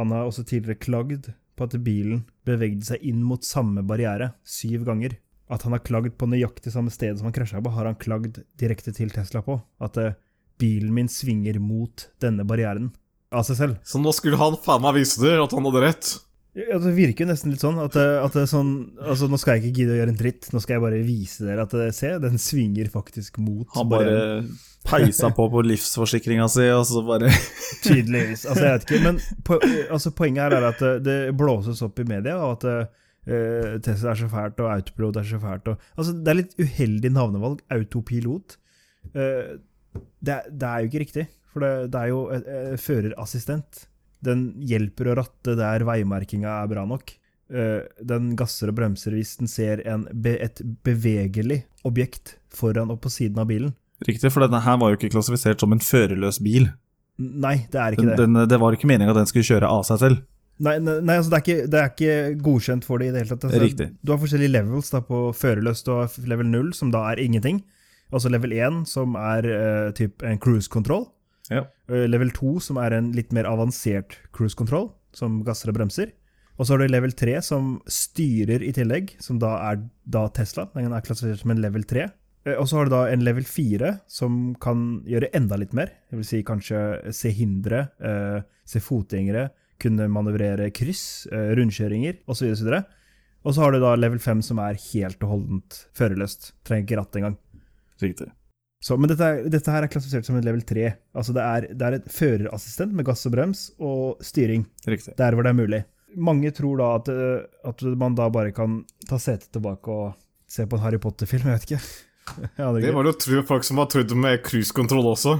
Speaker 2: han har også tidligere klagd på at bilen bevegde seg inn mot samme barriere syv ganger. At han har klagd på nøyaktig samme sted som han krasja på, har han klagd direkte til Tesla på. At eh, bilen min svinger mot denne barrieren av seg selv.
Speaker 3: Så nå skulle han faen meg vise det, at han hadde rett.
Speaker 2: Ja, det virker jo nesten litt sånn at, eh, at det er sånn Altså, nå skal jeg ikke gidde å gjøre en dritt, nå skal jeg bare vise dere at eh, se, den svinger faktisk mot
Speaker 1: Han
Speaker 2: barrieren.
Speaker 1: bare peisa på på livsforsikringa si, og så bare
Speaker 2: Tydeligvis. Altså, jeg vet ikke. Men po altså, poenget her er at eh, det blåses opp i media, og at eh, Tesla er så fælt, og autopilot er så fælt. Og, altså, det er litt uheldig navnevalg. Autopilot. Eh, det, er- det er jo ikke riktig, for det, det er jo eh, eh, førerassistent. Den hjelper å ratte der veimerkinga er bra nok. Eh, den gasser og bremser hvis den ser en be et bevegelig objekt foran og på siden av bilen.
Speaker 1: Riktig, for denne her var jo ikke klassifisert som en førerløs bil.
Speaker 2: N- Nei, det er ikke
Speaker 1: Den,
Speaker 2: det.
Speaker 1: den, det var ikke meninga at den skulle kjøre av seg selv.
Speaker 2: Nei, nei, nei altså det, er ikke, det er ikke godkjent for det i det hele tatt. Altså,
Speaker 1: Riktig.
Speaker 2: Du har forskjellige levels da, på førerløs. Du har level 0, som da er ingenting. Og så level 1, som er eh, typ en cruise control.
Speaker 1: Ja.
Speaker 2: Eh, level 2, som er en litt mer avansert cruise control, som gasser og bremser. Og så har du level 3, som styrer i tillegg, som da er da Tesla. Den er klassifisert som en level 3. Eh, Og så har du da en level 4, som kan gjøre enda litt mer. Det vil si kanskje se hindre, eh, se fotgjengere, kunne manøvrere kryss, eh, rundkjøringer osv. Og, så videre. og så har du da level 5, som er helt og holdent førerløst. Trenger ikke ratt engang.
Speaker 1: Riktig.
Speaker 2: Så, men dette, er- dette her er klassifisert som en level 3. Altså det er, det er et førerassistent med gass og brems og styring,
Speaker 1: Riktig.
Speaker 2: der hvor det er mulig. Mange tror da eh, at, øh, at man da bare kan ta setet tilbake og se på en Harry Potter-film, jeg vet ikke. Ja, det er
Speaker 3: Det
Speaker 2: gøy.
Speaker 3: var det jo tro- folk som har trodd med cruisekontroll også.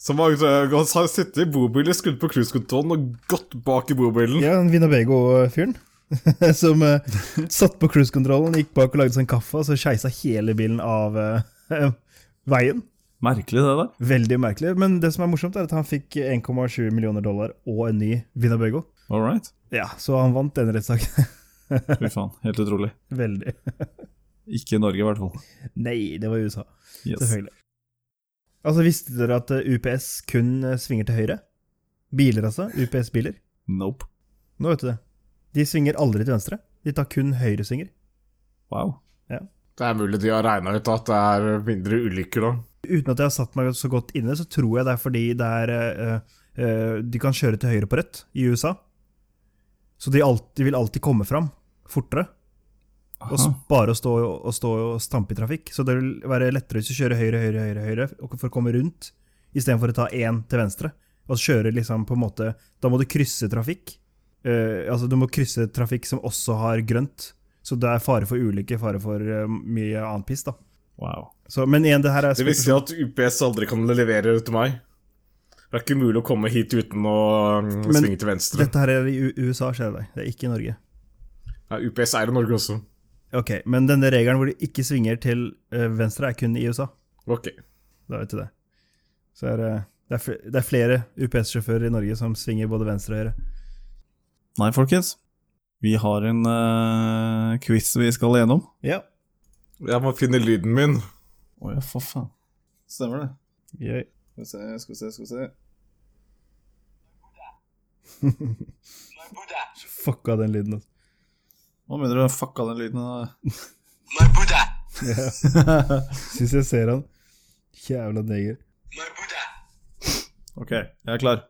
Speaker 3: Som har, øh, har sittet i bobilen, skrudd på cruisekontrollen og gått bak i bobilen.
Speaker 2: Ja, den Winnebago-fyren. som eh, satt på cruisekontrollen, gikk bak og lagde seg en kaffe, og så skeisa hele bilen av eh, veien.
Speaker 1: Merkelig, det der.
Speaker 2: Veldig merkelig. Men det som er morsomt, er at han fikk 1,7 millioner dollar og en ny Winnebago.
Speaker 1: All right.
Speaker 2: Ja, så han vant den rettssaken.
Speaker 1: Fy faen, helt utrolig.
Speaker 2: Veldig.
Speaker 1: Ikke i Norge, i hvert fall.
Speaker 2: Nei, det var i USA.
Speaker 1: Yes.
Speaker 2: Selvfølgelig. Altså, visste dere at eh, UPS kun eh, svinger til høyre? Biler, altså. UPS-biler.
Speaker 1: Nope.
Speaker 2: Nå vet du det. De svinger aldri til venstre. De tar kun høyresvinger.
Speaker 1: Wow.
Speaker 3: Det er mulig de har regna ut at det er mindre ulykker da.
Speaker 2: Uten at jeg har satt meg så godt inne, så tror jeg det er fordi det er eh, eh, De kan kjøre til høyre på rødt i USA. Så de, alt- de vil alltid komme fram fortere.
Speaker 1: Aha.
Speaker 2: Og s- bare å stå og, stå og stampe i trafikk. Så det vil være lettere hvis du kjører høyre, høyre, høyre, høyre og for å komme rundt, istedenfor å ta én til venstre. Og så kjøre liksom på en måte Da må du krysse trafikk. Eh, altså Du må krysse trafikk som også har grønt. Så det er fare for ulykke, fare for eh, mye annet piss, da.
Speaker 1: Wow.
Speaker 2: Så, men igjen, det her er
Speaker 3: Det vil si at UPS aldri kan levere til meg. Det er ikke mulig å komme hit uten å mm,
Speaker 2: Men
Speaker 3: svinge til venstre.
Speaker 2: Dette her er i U- USA, skjer det deg. Det er ikke i Norge.
Speaker 3: Nei, UPS er i Norge også.
Speaker 2: Ok, Men denne regelen hvor du ikke svinger til eh, venstre, er kun i USA.
Speaker 3: Ok.
Speaker 2: Da vet du det. Så er, det- det, er fl- det er flere UPS-sjåfører i Norge som svinger både venstre og høyre.
Speaker 1: Nei, folkens. Vi har en eh, quiz vi skal gjennom.
Speaker 2: Ja.
Speaker 3: Jeg må finne lyden min.
Speaker 1: Å ja, for faen. Stemmer det.
Speaker 2: Gøy.
Speaker 1: Skal vi se, skal vi se, skal vi se.
Speaker 4: My Buddha,
Speaker 2: Fucka den lyden, altså.
Speaker 1: Nå begynner du å fucka den lyden. da.
Speaker 4: my Buddha,
Speaker 2: Syns jeg ser han. Jævla neger.
Speaker 4: my Buddha,
Speaker 1: Ok, jeg er klar.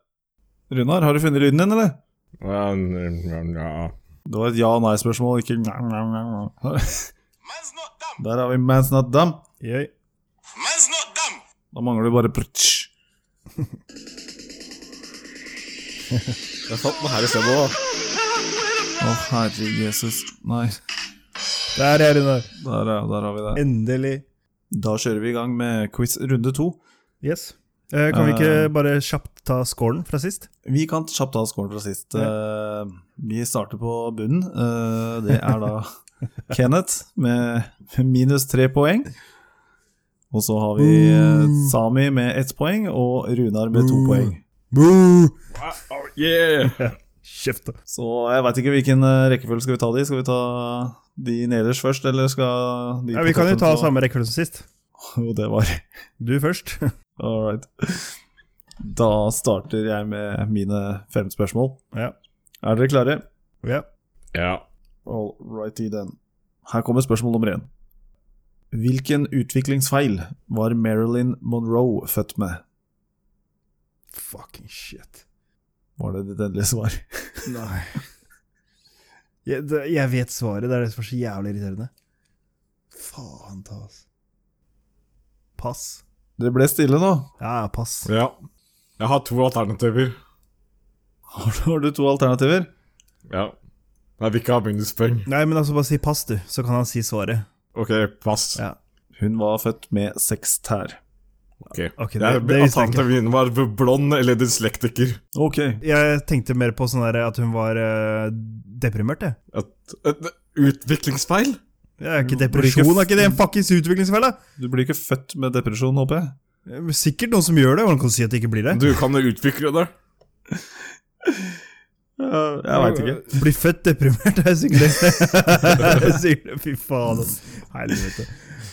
Speaker 1: Runar, har du funnet lyden din, eller?
Speaker 3: Ja, n- ja, ja.
Speaker 1: Det var et ja- og nei-spørsmål, ikke Der
Speaker 4: man's not dumb,
Speaker 1: har vi Man's Not Dumb.
Speaker 2: Jøy.
Speaker 4: man's not dumb.
Speaker 1: Da mangler du bare prutsch.
Speaker 3: Jeg fant den her i stedet òg.
Speaker 1: Å, herre Jesus. Nei.
Speaker 2: Der er hun, da.
Speaker 1: Der, er- der har vi det.
Speaker 2: Endelig.
Speaker 1: Da kjører vi i gang med quiz runde to.
Speaker 2: Yes. Eh, kan vi
Speaker 1: Eh.
Speaker 2: ikke bare kjapt ta scoren fra sist?
Speaker 1: Vi kan kjapt ta skålen fra sist. Eh, vi starter på bunnen. Eh, det er da Kenneth med minus tre poeng. Og så har vi eh,
Speaker 2: Mm.
Speaker 1: Sami med ett poeng og Runar med to poeng.
Speaker 2: Boo!
Speaker 3: Oh, yeah.
Speaker 2: Kjeft, da.
Speaker 1: Så jeg veit ikke hvilken eh, rekkefølge skal vi ta de. Skal vi ta de nederst først, eller skal de
Speaker 2: Ja,
Speaker 1: på
Speaker 2: vi kan jo
Speaker 1: toppen
Speaker 2: ta
Speaker 1: så-
Speaker 2: samme rekkefølge som sist.
Speaker 1: Jo, det var
Speaker 2: Du først.
Speaker 1: All right. Da starter jeg med mine fem spørsmål.
Speaker 2: ja.
Speaker 1: Er dere klare?
Speaker 2: ja.
Speaker 3: Ja.
Speaker 1: All righty then. Her kommer spørsmål nummer én. Hvilken utviklingsfeil var Marilyn Monroe født med?
Speaker 2: Fucking shit.
Speaker 1: Var det ditt endelige svar?
Speaker 2: Nei. Jeg, det, jeg vet svaret. Det er det som er så jævlig irriterende. Faen ta, altså. Pass.
Speaker 1: Det ble stille nå.
Speaker 2: Ja, pass.
Speaker 3: ja. Jeg har to alternativer.
Speaker 1: Har du- Har du to alternativer?
Speaker 3: Ja. Jeg vil ikke ha minuspoeng.
Speaker 2: Nei, men altså, bare si pass, du, så kan han si svaret.
Speaker 3: Ok, pass.
Speaker 2: Ja.
Speaker 1: Hun var født med seks tær.
Speaker 3: Ok.
Speaker 2: Ok,
Speaker 3: Jeg-
Speaker 2: det- det visste jeg ikke.
Speaker 3: Alternativet mine var blond eller dyslektiker.
Speaker 1: Ok.
Speaker 2: Jeg tenkte mer på sånn der at hun var eh, deprimert, jeg.
Speaker 3: Et, et utviklingsfeil?
Speaker 2: Jeg er ikke
Speaker 1: Blir
Speaker 2: depresjon,
Speaker 1: ikke f-
Speaker 2: er ikke det en fuckings utviklingsfeil, da?
Speaker 1: Du blir ikke født med depresjon, håper jeg?
Speaker 2: Eh, Sikkert noen som gjør det. Hvordan kan du si at det ikke blir det?
Speaker 3: Du kan jo utvikle det.
Speaker 1: Eh, Jeg veit ikke.
Speaker 2: Bli født deprimert, det er sikkert det. Det er sikkert- Fy faen. ass. Helvete.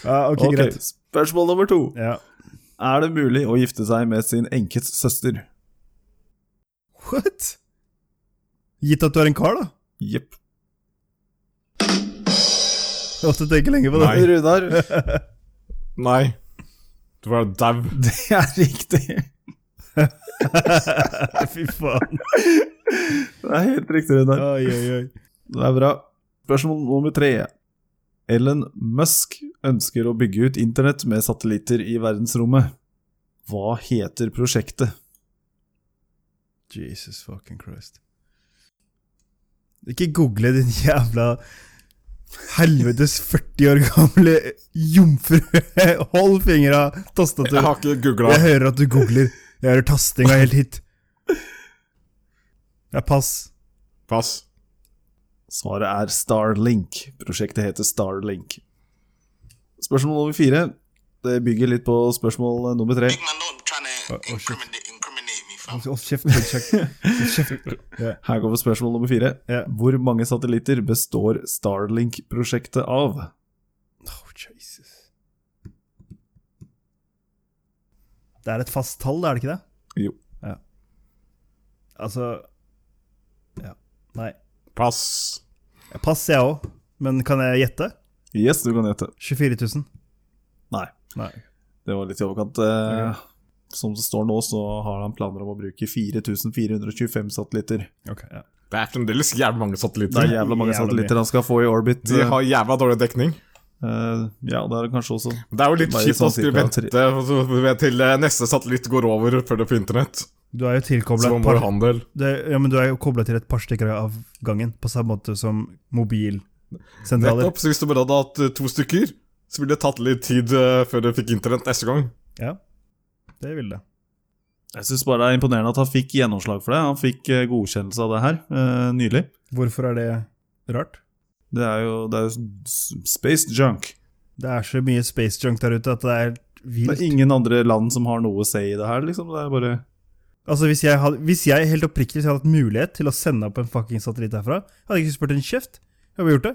Speaker 2: Ja, ok,
Speaker 1: Ok,
Speaker 2: greit.
Speaker 1: Spørsmål nummer to.
Speaker 2: Ja.
Speaker 1: Er det mulig å gifte seg med sin enkes søster?
Speaker 2: What? Gitt at du er en kar, da?
Speaker 1: Jepp.
Speaker 2: Jeg måtte tenke lenge på det.
Speaker 3: Nei.
Speaker 1: Runar,
Speaker 3: Nei. Du var dau.
Speaker 1: det er riktig.
Speaker 2: Fy faen.
Speaker 1: Det er helt riktig, Runar.
Speaker 2: Oi, oi, oi.
Speaker 1: Det er bra. Spørsmål nummer tre. Ellen Musk ønsker å bygge ut internett med satellitter i verdensrommet. Hva heter prosjektet?
Speaker 2: Jesus fucking Christ. Ikke google din jævla helvetes 40 år gamle jomfru. Hold fingra av
Speaker 3: Jeg
Speaker 2: tastaturet.
Speaker 3: har ikke googla.
Speaker 2: Jeg hører at du googler. Jeg hører tastinga helt hit. Det er pass.
Speaker 3: Pass.
Speaker 1: Svaret er Starlink. Prosjektet heter Starlink. Spørsmål nummer fire. Det bygger litt på spørsmål nummer tre.
Speaker 4: Big man don't trying to
Speaker 2: oh, shit.
Speaker 4: incriminate, incriminate me, fam.
Speaker 2: Hold kjeft. Hold kjeft. Hold kjeft. Ja.
Speaker 1: Her kommer spørsmål nummer fire.
Speaker 2: Ja.
Speaker 1: Hvor mange satellitter består Starlink-prosjektet av?
Speaker 2: Oh, Jesus. Det er et fast tall, er det ikke det?
Speaker 1: Jo.
Speaker 2: Ja. Altså Ja. Nei.
Speaker 3: Pass.
Speaker 2: Jeg passer, jeg òg. Men kan jeg gjette?
Speaker 1: Yes, du kan gjette.
Speaker 2: 24 000?
Speaker 1: Nei,
Speaker 2: Nei.
Speaker 1: det var litt i overkant. Eh, Som det står nå, så har han planer om å bruke 4425 satellitter.
Speaker 2: Ok, ja.
Speaker 3: Det er fremdeles jævlig mange
Speaker 1: Det
Speaker 3: satellitter.
Speaker 1: er jævla mange
Speaker 2: Jævla
Speaker 1: satellitter han skal få i orbit.
Speaker 3: De har jævla dårlig dekning.
Speaker 1: Eh, ja, det er det kanskje også.
Speaker 3: Det er jo litt
Speaker 1: Bare
Speaker 3: kjipt å
Speaker 1: sånn
Speaker 3: skulle
Speaker 1: cirka
Speaker 3: vente ved- til eh, neste satellitt går over før det er på internett.
Speaker 2: Du er jo tilkobla
Speaker 3: Så man må jo handel.
Speaker 2: ja, men du er jo koblet til et par stykker av gangen, på samme måte som mobilsentraler.
Speaker 3: Nettopp, så hvis du bare hadde hatt eh, to stykker, så ville det tatt litt tid eh, før du fikk internett neste gang.
Speaker 2: Ja, det vil det.
Speaker 1: Jeg syns bare det er imponerende at han fikk gjennomslag for det. Han fikk eh, godkjennelse av det her eh, nylig.
Speaker 2: Hvorfor er det rart?
Speaker 1: Det er jo det er jo s- space junk.
Speaker 2: Det er så mye space junk der ute at det er helt
Speaker 1: Det
Speaker 2: vilt.
Speaker 1: er ingen andre land som har noe å si i det her, liksom. Det er bare
Speaker 2: Altså hvis jeg, hadde, hvis jeg helt oppriktig hvis jeg hadde hatt mulighet til å sende opp en fucking satellitt herfra, hadde jeg ikke spurt en kjeft. Jeg hadde gjort det.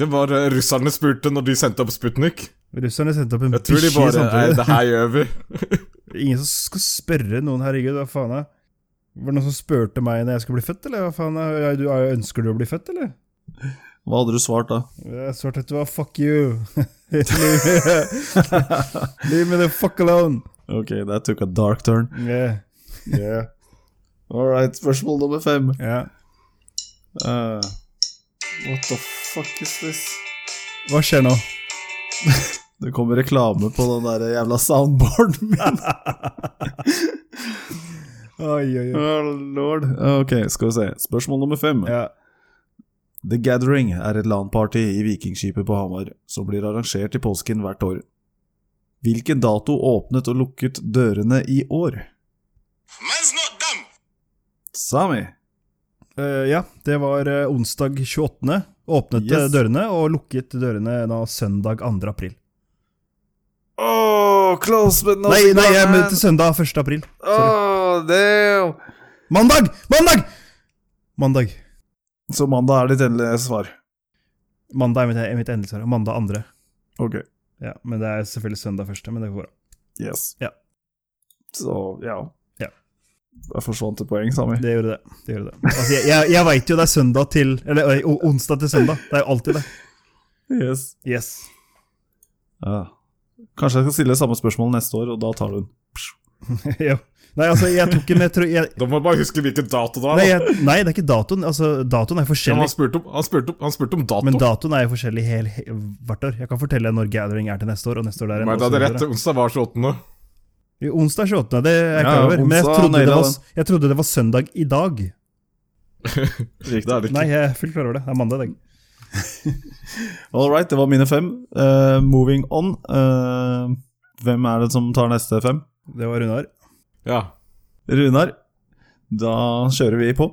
Speaker 3: Det var eh, russerne spurte når de sendte opp Sputnik.
Speaker 2: Russerne sendte opp en
Speaker 3: Jeg tror de
Speaker 2: bikkje
Speaker 3: bare Nei,
Speaker 2: samtidig.
Speaker 3: det her gjør vi.
Speaker 2: Ingen som skal spørre noen, herregud, hva faen er Var det noen som spurte meg når jeg skulle bli født, eller hva faen er er du, er, Ønsker du å bli født, eller?
Speaker 1: Hva hadde du svart da?
Speaker 2: Jeg svarte at det var fuck you. Leave me- leave me the fuck alone.
Speaker 1: Ok, that took a dark turn.
Speaker 2: Yeah. Yeah.
Speaker 1: All right, spørsmål nummer fem.
Speaker 2: Ja.
Speaker 1: Eh, what the fuck is this?
Speaker 2: Hva skjer nå?
Speaker 1: Det kommer reklame på den der jævla soundboarden min.
Speaker 2: Oi, oi, oi.
Speaker 1: Oh, lord. Ok, skal vi se. Spørsmål nummer fem.
Speaker 2: Ja.
Speaker 1: The Gathering er et LAN-party i Vikingskipet på Hamar, som blir arrangert i påsken hvert år. Hvilken dato åpnet og lukket dørene i år?
Speaker 4: Man's not dumb.
Speaker 1: Sami.
Speaker 2: Eh, ja, det var eh, onsdag 28. Åpnet eh,
Speaker 1: Yes.
Speaker 2: dørene og lukket dørene da søndag 2. april.
Speaker 1: Oh, close but
Speaker 2: Nei, nei, jeg
Speaker 1: eh,
Speaker 2: mente søndag 1. april.
Speaker 1: oh, damn.
Speaker 2: Mandag! Mandag! Mandag.
Speaker 1: Så mandag er ditt endelige svar.
Speaker 2: Mandag er mitt, er mitt endelige svar. Mandag andre.
Speaker 1: Ok,
Speaker 2: Ja, men det er selvfølgelig søndag første, men det går bra.
Speaker 1: yes.
Speaker 2: Ja.
Speaker 1: Så, ja.
Speaker 2: Ja.
Speaker 1: Der forsvant et poeng, Sami.
Speaker 2: Det gjorde det. det, gjorde det. Altså, jeg jeg, jeg veit jo det er søndag til Eller øy, o- onsdag til søndag. Det er jo alltid det.
Speaker 1: Yes.
Speaker 2: Yes.
Speaker 1: Ja. Kanskje jeg skal stille samme spørsmål neste år, og da tar du den.
Speaker 2: jo. Nei, altså, jeg tok ikke med tro... Jeg,
Speaker 3: Da må man bare huske hvilken dato det
Speaker 2: nei,
Speaker 3: er. da.
Speaker 2: jeg, nei, det er ikke datoen. Altså, datoen er
Speaker 3: Ja,
Speaker 2: forskjellig.
Speaker 3: han spurte om, han spurte om, han spurte om dato.
Speaker 2: Men datoen er jo forskjellig hel, he, hvert år. Jeg kan fortelle deg når gathering er til neste år. og neste år der
Speaker 3: Nei, det hadde rett. Onsdag var 28.
Speaker 2: Onsdag 28. Det er jeg
Speaker 1: Ja,
Speaker 2: klar over. Men jeg
Speaker 1: onsdag
Speaker 2: trodde, det
Speaker 1: naila
Speaker 2: var, jeg trodde det var søndag i dag.
Speaker 3: Det er det ikke.
Speaker 2: Nei, jeg er fullt klar over det. Det er mandag. Det.
Speaker 1: All right, det var mine fem. Eh, moving on. Eh, hvem er det som tar neste fem?
Speaker 2: det var Runar.
Speaker 3: Ja.
Speaker 1: Runar. Da kjører vi på.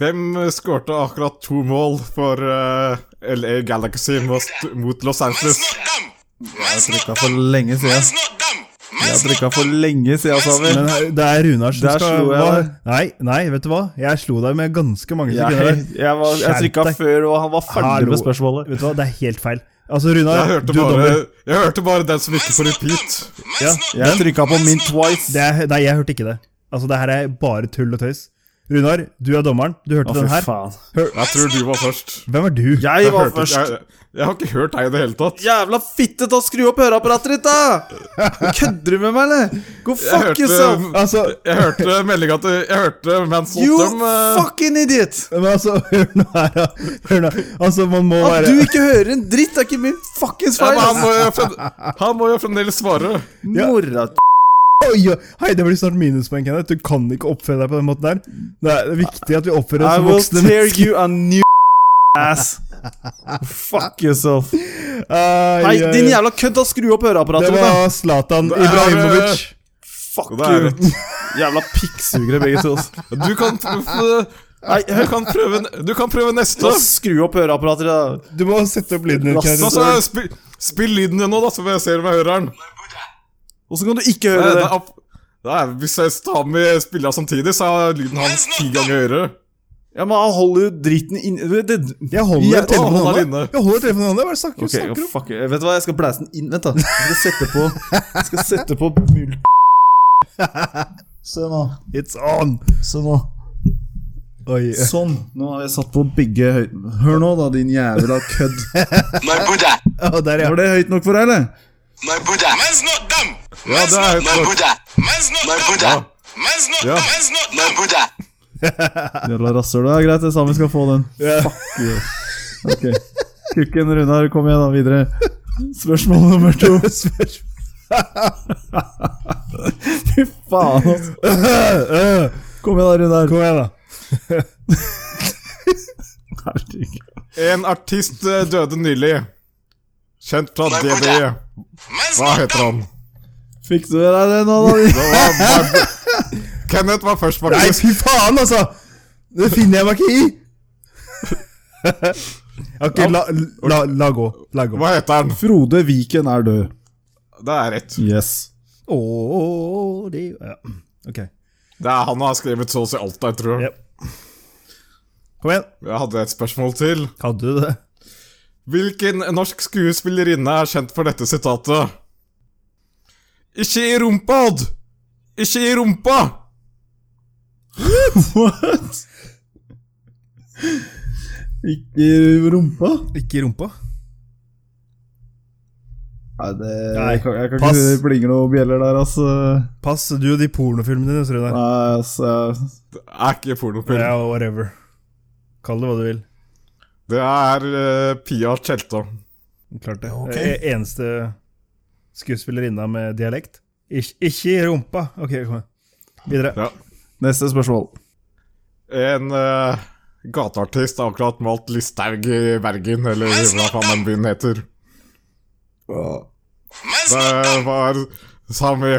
Speaker 3: Hvem eh, skårte akkurat to mål for eh, LA Galaxy mot, mot Los
Speaker 4: Man's
Speaker 3: Angeles?
Speaker 4: not dumb.
Speaker 1: Jeg
Speaker 4: Man's
Speaker 1: trykka
Speaker 4: not
Speaker 1: for
Speaker 4: dumb.
Speaker 1: lenge siden.
Speaker 4: Man's not dumb.
Speaker 1: Jeg
Speaker 4: Man's not
Speaker 1: trykka for
Speaker 4: dumb.
Speaker 1: lenge siden, Samuel.
Speaker 2: Men eh, det er Runar som
Speaker 1: Der
Speaker 2: skal
Speaker 1: slo jeg
Speaker 2: hva-
Speaker 1: deg.
Speaker 2: Nei, nei, vet du hva? Jeg slo deg med ganske mange sekunder.
Speaker 1: Jeg,
Speaker 2: der.
Speaker 1: jeg, var- jeg
Speaker 2: Skjerp
Speaker 1: trykka
Speaker 2: deg.
Speaker 1: før, og han var ferdig
Speaker 2: Hallo.
Speaker 1: med spørsmålet.
Speaker 2: Vet du hva, det er helt feil. Altså, Runar,
Speaker 3: Jeg hørte,
Speaker 2: du er
Speaker 3: bare,
Speaker 2: dommer.
Speaker 3: jeg hørte bare den som gikk på repeat.
Speaker 4: Man's not
Speaker 1: Jeg
Speaker 4: dumb.
Speaker 1: trykka på min twice.
Speaker 2: Det er, nei, jeg hørte ikke det. Altså, det her er bare tull og tøys. Runar, du er dommeren. Du hørte
Speaker 1: Å, fy
Speaker 2: den her.
Speaker 1: faen.
Speaker 2: Hør,
Speaker 3: Jeg tror du var først.
Speaker 2: hvem er du?
Speaker 1: Jeg var
Speaker 3: hørte-
Speaker 1: først.
Speaker 3: Jeg, jeg har ikke hørt deg i det hele tatt.
Speaker 1: Jævla fitte, ta skru opp høreapparatet ditt, da! Kødder du med meg, eller? Go
Speaker 3: Jeg
Speaker 1: fuck yourself!
Speaker 3: hørte,
Speaker 2: Altså,
Speaker 3: jeg hørte meldinga til Jeg hørte Mans eh,
Speaker 1: You
Speaker 3: Oldham
Speaker 1: fucking idiot!
Speaker 2: men altså, hør nå her, da. Hør nå. Altså, man må
Speaker 1: At
Speaker 2: være
Speaker 1: du ikke hører en dritt, er ikke min fuckings
Speaker 3: ja,
Speaker 1: feil!
Speaker 3: men han,
Speaker 1: ass.
Speaker 3: må jo frem, han må jo fremdeles svare.
Speaker 2: Ja.
Speaker 1: Mora
Speaker 2: Oi, oi, Hei, det blir snart minuspoeng, Kenneth. Du kan ikke oppføre deg på den måten der. Det er viktig at vi oppfører
Speaker 1: I
Speaker 2: oss som
Speaker 1: will
Speaker 2: voksne.
Speaker 1: tear you a new ass. Fuck yourself.
Speaker 2: Ai,
Speaker 1: Hei,
Speaker 2: ai,
Speaker 1: din
Speaker 2: ai.
Speaker 1: jævla kødd! da, Skru opp
Speaker 2: Det
Speaker 1: høreapparatet ditt, da!
Speaker 2: var Zlatan Ibrahimovic.
Speaker 1: Fuck
Speaker 3: Det er
Speaker 1: you! Jævla pikksugere, begge to. ass.
Speaker 3: Du kan Nei, du kan prøve, du kan prøve neste.
Speaker 1: Da skru opp høreapparatet ditt, da!
Speaker 2: Du må sette opp lyden.
Speaker 1: Lasse,
Speaker 2: Kjære.
Speaker 3: Da, så, spill, spill lyden din nå, da, så får jeg se om jeg hører den.
Speaker 4: My Buddha.
Speaker 1: Åssen kan du ikke
Speaker 3: Det
Speaker 1: høre
Speaker 3: er-
Speaker 1: det?
Speaker 3: det er opp- det er- Hvis jeg tar med spillene samtidig, så er lyden hans ti ganger høyere.
Speaker 1: Ja, men Han holder jo dritten inni det-
Speaker 2: Jeg holder
Speaker 1: Ja,
Speaker 2: telefonen i
Speaker 3: hold
Speaker 2: hånda.
Speaker 3: den inne.
Speaker 2: Jeg holder telefonen i hånda. Hva er det du snakker,
Speaker 1: Ok,
Speaker 2: snakker om?
Speaker 1: fuck it. Vet du hva, jeg skal blæse den inn. Vent, da. Jeg skal sette på Jeg skal sette på mul... Se nå.
Speaker 2: It's on!
Speaker 1: Se nå.
Speaker 2: Oi.
Speaker 1: Sånn. Nå har jeg satt på begge høyden. Hør nå, da, din jævla kødd.
Speaker 4: My Buddha.
Speaker 2: Å, der, ja.
Speaker 1: Var det høyt nok for deg, eller?
Speaker 4: My Buddha. Man's not dumb. Man's
Speaker 3: that
Speaker 4: not
Speaker 3: is
Speaker 4: my
Speaker 3: good.
Speaker 4: Buddha. Man's not my Buddha. Man's not dumb. Man's not my Buddha.
Speaker 1: Jævla rasshøl. Det er greit, det samme skal få den.
Speaker 2: Ja.
Speaker 1: Fuck you. Ok. Kukken Runar, kom igjen, da, videre. Spørsmål nummer to. Fy faen, altså.
Speaker 2: Øh,
Speaker 1: Kom igjen, da, Runar.
Speaker 2: Kom igjen, da.
Speaker 1: Herregud.
Speaker 3: En artist eh, døde nylig. Kjent fra
Speaker 4: Nei,
Speaker 3: DB.
Speaker 4: Buddha. Man's
Speaker 3: Hva
Speaker 4: not
Speaker 3: heter
Speaker 4: dumb.
Speaker 3: han?
Speaker 1: Fikk du deg det nå, da?
Speaker 3: Det var Bar- Kenneth var først,
Speaker 2: Nei,
Speaker 3: faktisk.
Speaker 2: fy faen, altså! Det finner jeg meg ikke i! Ok, la, la, la gå. La gå.
Speaker 3: Hva heter han?
Speaker 1: Frode Viken er død.
Speaker 3: Det er rett.
Speaker 1: Yes.
Speaker 2: Åh, det- ja. Ok.
Speaker 3: Det er han som har skrevet så å si alt der, tror jeg.
Speaker 2: Yep. Kom igjen.
Speaker 3: Jeg hadde et spørsmål til.
Speaker 2: Hadde du det?
Speaker 3: Hvilken norsk skuespillerinne er kjent for dette sitatet? Ikke i rumpa, Odd! Ikke i rumpa!
Speaker 1: What? Ikke i rumpa?
Speaker 2: Ikke i rumpa?
Speaker 1: Nei, det
Speaker 2: Nei,
Speaker 1: jeg kan, jeg kan
Speaker 2: pass.
Speaker 1: ikke Det plinger noen bjeller der, altså.
Speaker 2: Pass, du og de pornofilmene dine, tror jeg.
Speaker 1: Nei,
Speaker 2: Der.
Speaker 1: altså
Speaker 3: Det er ikke pornofilm.
Speaker 2: Ja, whatever. Kall det hva du vil.
Speaker 3: Det er eh, Pia Tjelta.
Speaker 2: Klart det. E- Eneste skuespillerinna med dialekt. Ik ikke i rumpa. Ok, kom igjen. Videre.
Speaker 3: Ja.
Speaker 1: Neste spørsmål.
Speaker 3: En eh, gateartist har akkurat malt Listhaug i Bergen, eller hva faen den byen heter.
Speaker 4: Man's
Speaker 3: Det
Speaker 4: not
Speaker 3: var Sami.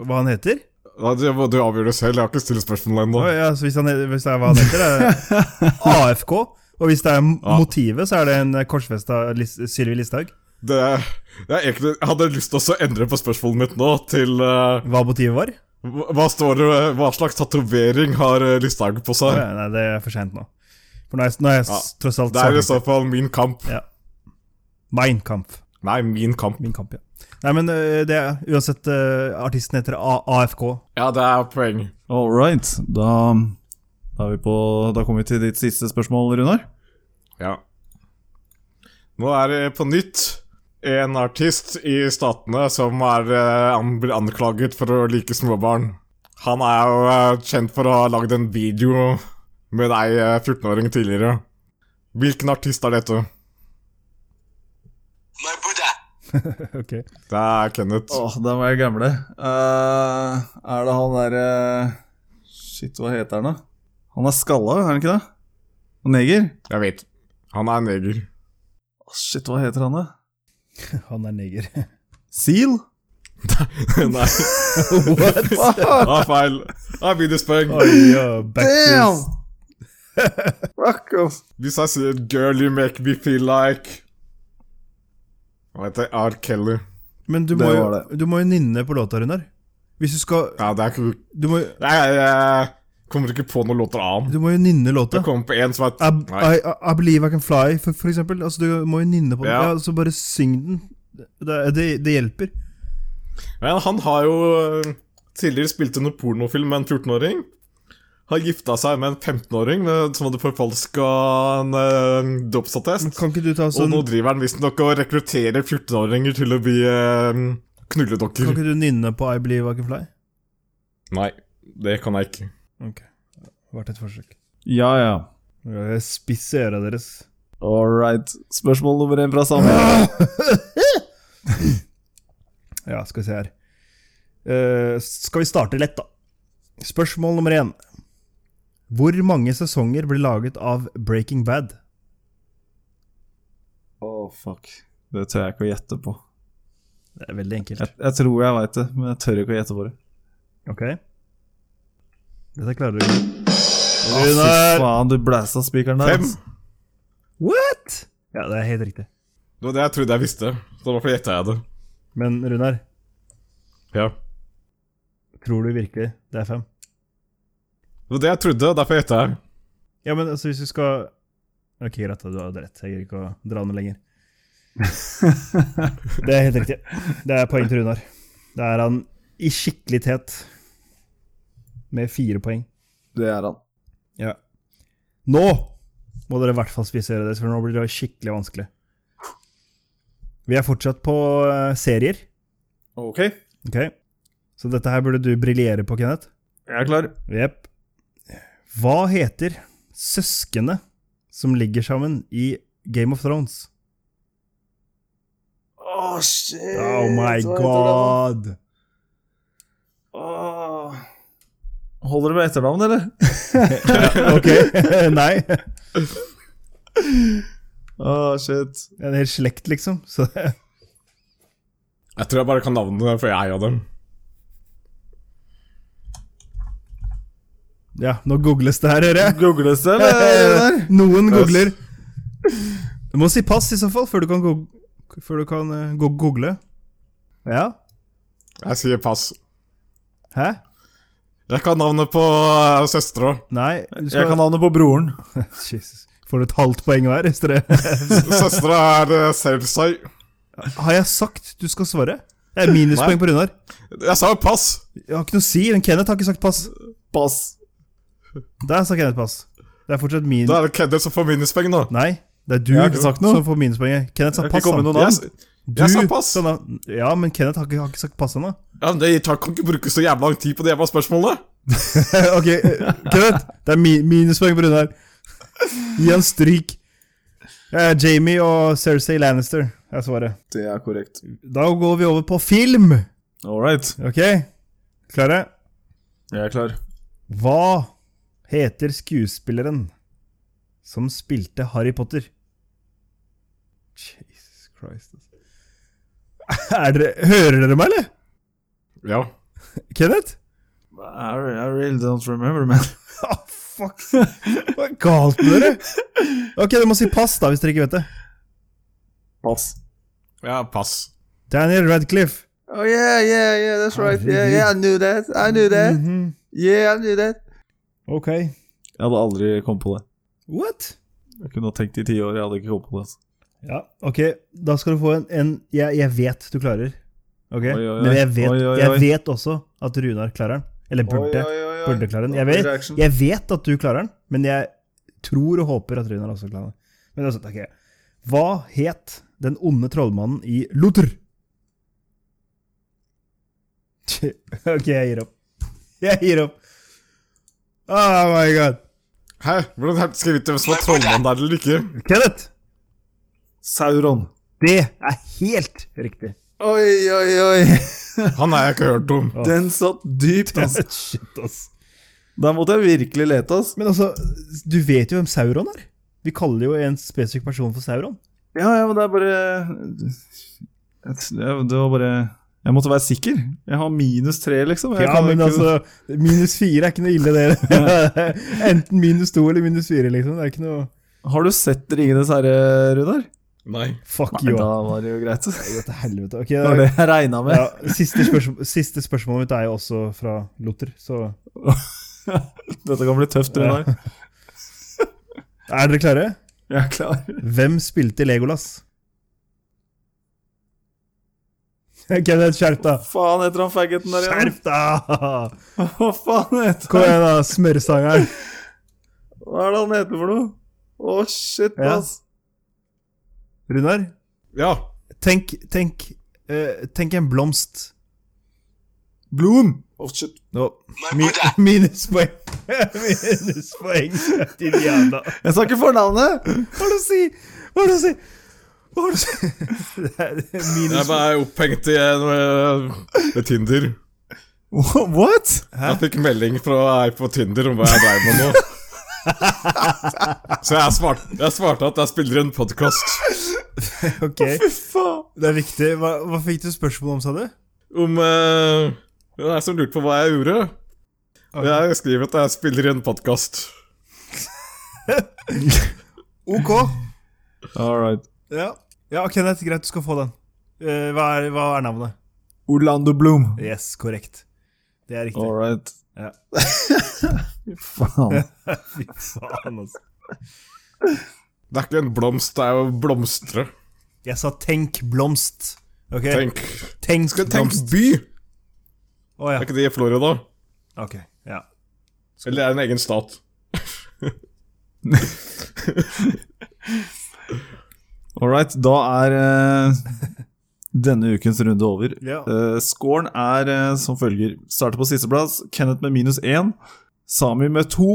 Speaker 2: Hva han heter?
Speaker 3: Ja, Du, du avgjør det selv, jeg har ikke stilt spørsmål ennå.
Speaker 2: Å, ja, så hvis, han, he- hvis det er hva han heter, er det AFK. Og hvis det er motivet, så er det en korsfesta Lis Sylvi Listhaug.
Speaker 3: Det, jeg, er egentlig, jeg hadde lyst til også å endre på spørsmålet mitt nå, til eh,
Speaker 2: Hva motivet var?
Speaker 3: Hva hva står det, hva slags tatovering har eh, Listhaug på
Speaker 2: Å,
Speaker 3: seg?
Speaker 2: ja, nei, det er for seint nå. For nå er jeg, nå er jeg
Speaker 3: Ja,
Speaker 2: s- tross alt
Speaker 3: Det er i
Speaker 2: saklig.
Speaker 3: så fall Min kamp.
Speaker 2: Ja. Mein Kampf.
Speaker 3: Nei, Min kamp.
Speaker 2: Min kamp, ja. Nei, men øh, det er uansett øh, Artisten heter A AFK.
Speaker 3: Ja, det er poeng.
Speaker 1: All right. Da, da, er vi på, da kommer vi til ditt siste spørsmål, Runar.
Speaker 3: Ja. Nå er det på nytt en artist i statene som er eh, an- blir anklaget for å like småbarn. Han er jo eh, kjent for å ha lagd en video med ei eh, 14-åring tidligere. Hvilken artist er dette?
Speaker 4: my Buddha.
Speaker 2: ok.
Speaker 3: Det er Kenneth.
Speaker 1: Åh, da var jeg gamle. Eh, er det han derre Shit, hva heter han, da? Han er skalla, er han ikke det? Og neger?
Speaker 3: Jeg vet. Han er neger.
Speaker 1: Åh, Shit, hva heter han, da?
Speaker 2: Han er neger.
Speaker 1: Seal?
Speaker 3: Nei,
Speaker 2: What?
Speaker 3: det er feil. Det er minuspoeng.
Speaker 2: Oi, ja, back
Speaker 1: Damn!
Speaker 2: to-
Speaker 1: Fuck off.
Speaker 3: Hvis jeg sier 'girl you make me feel like' Hva heter det? R. Kelly.
Speaker 2: Men du
Speaker 1: Det
Speaker 2: må,
Speaker 1: var
Speaker 2: jo, du må jo nynne på låta, Runar. Hvis du skal
Speaker 3: Ja, det er ikke
Speaker 2: Du må,
Speaker 3: Nei, jeg, jeg kommer ikke på noen låter annet.
Speaker 2: du må jo nynne låta.
Speaker 3: Jeg kommer på en som
Speaker 2: I,
Speaker 3: er Nei.
Speaker 2: I, I believe I can fly, for, for eksempel. Altså, du må jo nynne på den.
Speaker 3: Ja.
Speaker 2: Ja. så bare syng den. Det, det, det hjelper.
Speaker 3: Men han har jo øh, tidligere spilt under pornofilm med en 14-åring. Har gifta seg med en 15-åring med- som hadde forfalska en øh, dåpsattest.
Speaker 2: Kan ikke du ta
Speaker 3: Og
Speaker 2: sånn
Speaker 3: nå driver han visstnok og rekrutterer 14-åringer til å bli øh,
Speaker 2: Kan
Speaker 3: knulledokker.
Speaker 2: ikke du nynne på I believe I can fly?
Speaker 3: Nei, det kan jeg ikke.
Speaker 2: Ok. Vært et forsøk.
Speaker 1: Ja, ja.
Speaker 2: Jeg spisser øra deres.
Speaker 1: All right. Spørsmål nummer én fra Samuel.
Speaker 2: Ja, skal vi se her. Eh, skal vi starte lett, da? Spørsmål nummer én. Hvor mange sesonger ble laget av Breaking Bad?
Speaker 1: fuck. Det tør jeg ikke å gjette på.
Speaker 2: Det er veldig enkelt.
Speaker 1: Jeg, jeg tror jeg veit det, men jeg tør ikke å gjette på det.
Speaker 2: Ok. Dette klarer du.
Speaker 1: Å, fy faen, du blæsta spikeren der.
Speaker 3: Fem.
Speaker 1: altså.
Speaker 2: What?! Ja, det er helt riktig.
Speaker 3: Det var det jeg trodde jeg visste. Så derfor gjetta jeg det.
Speaker 2: Men Runar,
Speaker 3: Ja.
Speaker 2: tror du virkelig det er fem?
Speaker 3: Det var det jeg trodde, derfor gjetta jeg.
Speaker 2: Ja, men altså, hvis du skal Ok, greit, da, du hadde rett. Jeg gir ikke å dra den lenger. det er helt riktig. Det er poeng til Runar. Da er han i skikkelig tet med fire poeng.
Speaker 1: Det er han.
Speaker 2: Nå må dere i hvert fall spise øret deres, for nå blir det skikkelig vanskelig. Vi er fortsatt på eh, serier,
Speaker 1: Ok, jeg
Speaker 2: ok? Så dette her burde du briljere på, Kenneth.
Speaker 1: er klar.
Speaker 2: Jepp. Hva heter søskene som ligger sammen i Game of Thrones?
Speaker 1: Å, shit!
Speaker 2: Oh my god!
Speaker 1: Åh. Holder det med etternavn, eller?
Speaker 2: Ok, nei.
Speaker 1: Å, shit.
Speaker 2: En hel slekt, liksom. Så det
Speaker 3: Jeg tror jeg bare kan navnet, for jeg er en av dem.
Speaker 2: Ja, nå googles det her, hører jeg.
Speaker 1: Googles det, eller?
Speaker 2: Noen googler. Du må si pass i så fall, før du kan, goog før du kan eh, go google. Ja?
Speaker 3: Jeg sier pass.
Speaker 2: Hæ?
Speaker 3: Jeg kan navnet på uh, søstera.
Speaker 2: Nei, du
Speaker 1: Jeg
Speaker 2: skal
Speaker 1: kan navnet på broren.
Speaker 2: Jesus. Får du et halvt poeng hver? hvis dere-
Speaker 3: Søstera er uh, Selsai.
Speaker 2: Har jeg sagt du skal svare? Det er minuspoeng på Runar.
Speaker 3: Jeg sa jo pass!
Speaker 2: Jeg har ikke noe å si. men Kenneth har ikke sagt pass.
Speaker 1: Pass.
Speaker 2: Der sa Kenneth pass. Det er fortsatt min...
Speaker 3: Da er det Kenneth som får minuspoeng, da.
Speaker 2: Nei, det er du
Speaker 1: Jeg har ikke sagt noe.
Speaker 2: som får minuspoenget. Kenneth sa
Speaker 1: Jeg har ikke
Speaker 2: pass.
Speaker 1: kommet med
Speaker 2: han.
Speaker 1: noe navn.
Speaker 3: Jeg, jeg sa pass!
Speaker 2: sa navn. Ja, men Kenneth har ikke, har ikke sagt pass ennå.
Speaker 3: Ja, men det tar, kan ikke bruke så jævla lang tid på det jævla spørsmålet.
Speaker 2: ok, eh, Kenneth. Det er mi minuspoeng på Runar. Gi han stryk. Eh, Jamie og Cersei Lannister er svaret.
Speaker 1: Det er korrekt.
Speaker 2: Da går vi over på film.
Speaker 1: All right.
Speaker 2: Ok, klare?
Speaker 1: Jeg er klar.
Speaker 2: Hva heter skuespilleren som spilte Harry Potter? Jesus Christ, altså. Er dere, hører dere meg, eller?
Speaker 3: Ja.
Speaker 2: Kenneth?
Speaker 1: I, I really don't remember, man.
Speaker 2: Ah, fuck. Hva er galt med dere? Ok, dere må si pass, da, hvis dere ikke vet det.
Speaker 1: Pass.
Speaker 3: Ja, pass.
Speaker 2: Daniel Radcliffe.
Speaker 1: Oh yeah, yeah, yeah, that's right. Yeah,
Speaker 2: Herregud.
Speaker 1: yeah, I knew that. I knew that.
Speaker 2: Mhm.
Speaker 1: Yeah, I knew that.
Speaker 2: Ok.
Speaker 1: Jeg hadde aldri kommet på det.
Speaker 2: What?
Speaker 1: Jeg kunne tenkt i ti år, jeg hadde ikke kommet på det. altså.
Speaker 2: Ja, ok. Da skal du få en, en jeg, jeg vet du klarer. Ok?
Speaker 1: Oi, oi, oi.
Speaker 2: Men jeg vet,
Speaker 1: Oi, oi, oi.
Speaker 2: jeg vet også at Runar klarer den. Eller burde. Burde klare den. Jeg vet, jeg vet at du klarer den, men jeg tror og håper at Runar også klarer den. Men det er sånn, ok. Hva het den onde trollmannen i Luther? Tje, Ok, jeg gir opp. Jeg gir opp. Oh my god.
Speaker 3: Hæ? Hvordan helvete skal jeg vite hvem som er trollmann der eller ikke?
Speaker 2: Kenneth,
Speaker 1: Sauron.
Speaker 2: det er helt riktig.
Speaker 1: Oi, oi, oi.
Speaker 3: Han har jeg ikke hørt om.
Speaker 1: Den satt dypt, altså.
Speaker 2: Shit, ass.
Speaker 1: Da måtte jeg virkelig lete, ass.
Speaker 2: Men altså, du vet jo hvem Sauron er. Vi kaller jo en spesifikk person for Sauron.
Speaker 1: Ja, ja, men det er bare Jeg- Det var bare Jeg måtte være sikker. Jeg har minus tre, liksom. Jeg
Speaker 2: Ja,
Speaker 1: kan
Speaker 2: men
Speaker 1: ikke-
Speaker 2: altså, minus fire er ikke noe ille, det. Enten minus to eller minus fire, liksom. Det er ikke noe
Speaker 1: Har du sett 'Ringenes herre', Runar?
Speaker 3: Nei.
Speaker 2: Fuck
Speaker 1: Nei,
Speaker 2: you.
Speaker 1: da var det jo greit.
Speaker 2: Det
Speaker 1: Det
Speaker 2: er til helvete. Ok,
Speaker 1: var
Speaker 2: da,
Speaker 1: det jeg regna med.
Speaker 2: ja, siste, spørsmål, siste spørsmålet mitt er jo også fra Luther, så
Speaker 1: Dette kan bli tøft, Runar.
Speaker 2: Er dere klare?
Speaker 1: Jeg er klar.
Speaker 2: Hvem spilte Legolas? Kenneth, skjerp deg!
Speaker 1: Faen heter han faggoten der igjen?
Speaker 2: Skjerp deg!
Speaker 1: Hva faen heter
Speaker 2: Kom
Speaker 1: han?
Speaker 2: igjen, da, smørsangeren.
Speaker 1: Hva er det han heter for noe? Å, shit,
Speaker 2: Ja.
Speaker 1: ass.
Speaker 2: Runar,
Speaker 3: Ja.
Speaker 2: tenk, tenk, eh, tenk en blomst.
Speaker 1: Bloom! Å, shit.
Speaker 2: Nå,
Speaker 4: My
Speaker 2: mi
Speaker 4: Buddha.
Speaker 2: minuspoeng. minuspoeng, din jævla
Speaker 1: Jeg sa ikke fornavnet!
Speaker 2: Hva er det du sier? Hva er det du sier? Hva er det du sier? Det er
Speaker 3: Jeg
Speaker 2: minuspoeng.
Speaker 3: ble opphengt i en, eh, Tinder.
Speaker 1: What?
Speaker 3: Jeg fikk melding fra ei på Tinder om hva jeg dreiv med nå. Så jeg svarte, jeg svarte at jeg spiller en podkast.
Speaker 2: Ok,
Speaker 3: Fy faen!
Speaker 2: det er viktig. Hva, hva fikk du spørsmål om, sa du?
Speaker 3: Om eh, Det er en som lurte på hva jeg gjorde. Og jeg skriver at jeg spiller i en podkast.
Speaker 2: Ok.
Speaker 1: All right.
Speaker 2: Ja, ja ok, det er greit, du skal få den. Eh, hva, er, hva er navnet?
Speaker 1: Orlando Bloom.
Speaker 2: Yes, korrekt. Det er riktig.
Speaker 1: All right.
Speaker 2: Ja.
Speaker 1: Faen.
Speaker 2: Fy faen, altså.
Speaker 3: Det er ikke en blomst, det er jo blomstre.
Speaker 2: Jeg sa tenk blomst. Ok, tenk,
Speaker 3: Tenk
Speaker 2: tenk
Speaker 3: Skal jeg tenke
Speaker 2: blomst.
Speaker 3: by?
Speaker 2: Å ja,
Speaker 3: Er ikke det i Florida?
Speaker 2: ok. Ja.
Speaker 3: Eller det er en egen stat?
Speaker 1: All right, da er eh, denne ukens runde over.
Speaker 2: Ja.
Speaker 1: Eh, scoren er eh, som følger. Starter på sisteplass. Kenneth med minus én. Sami med to.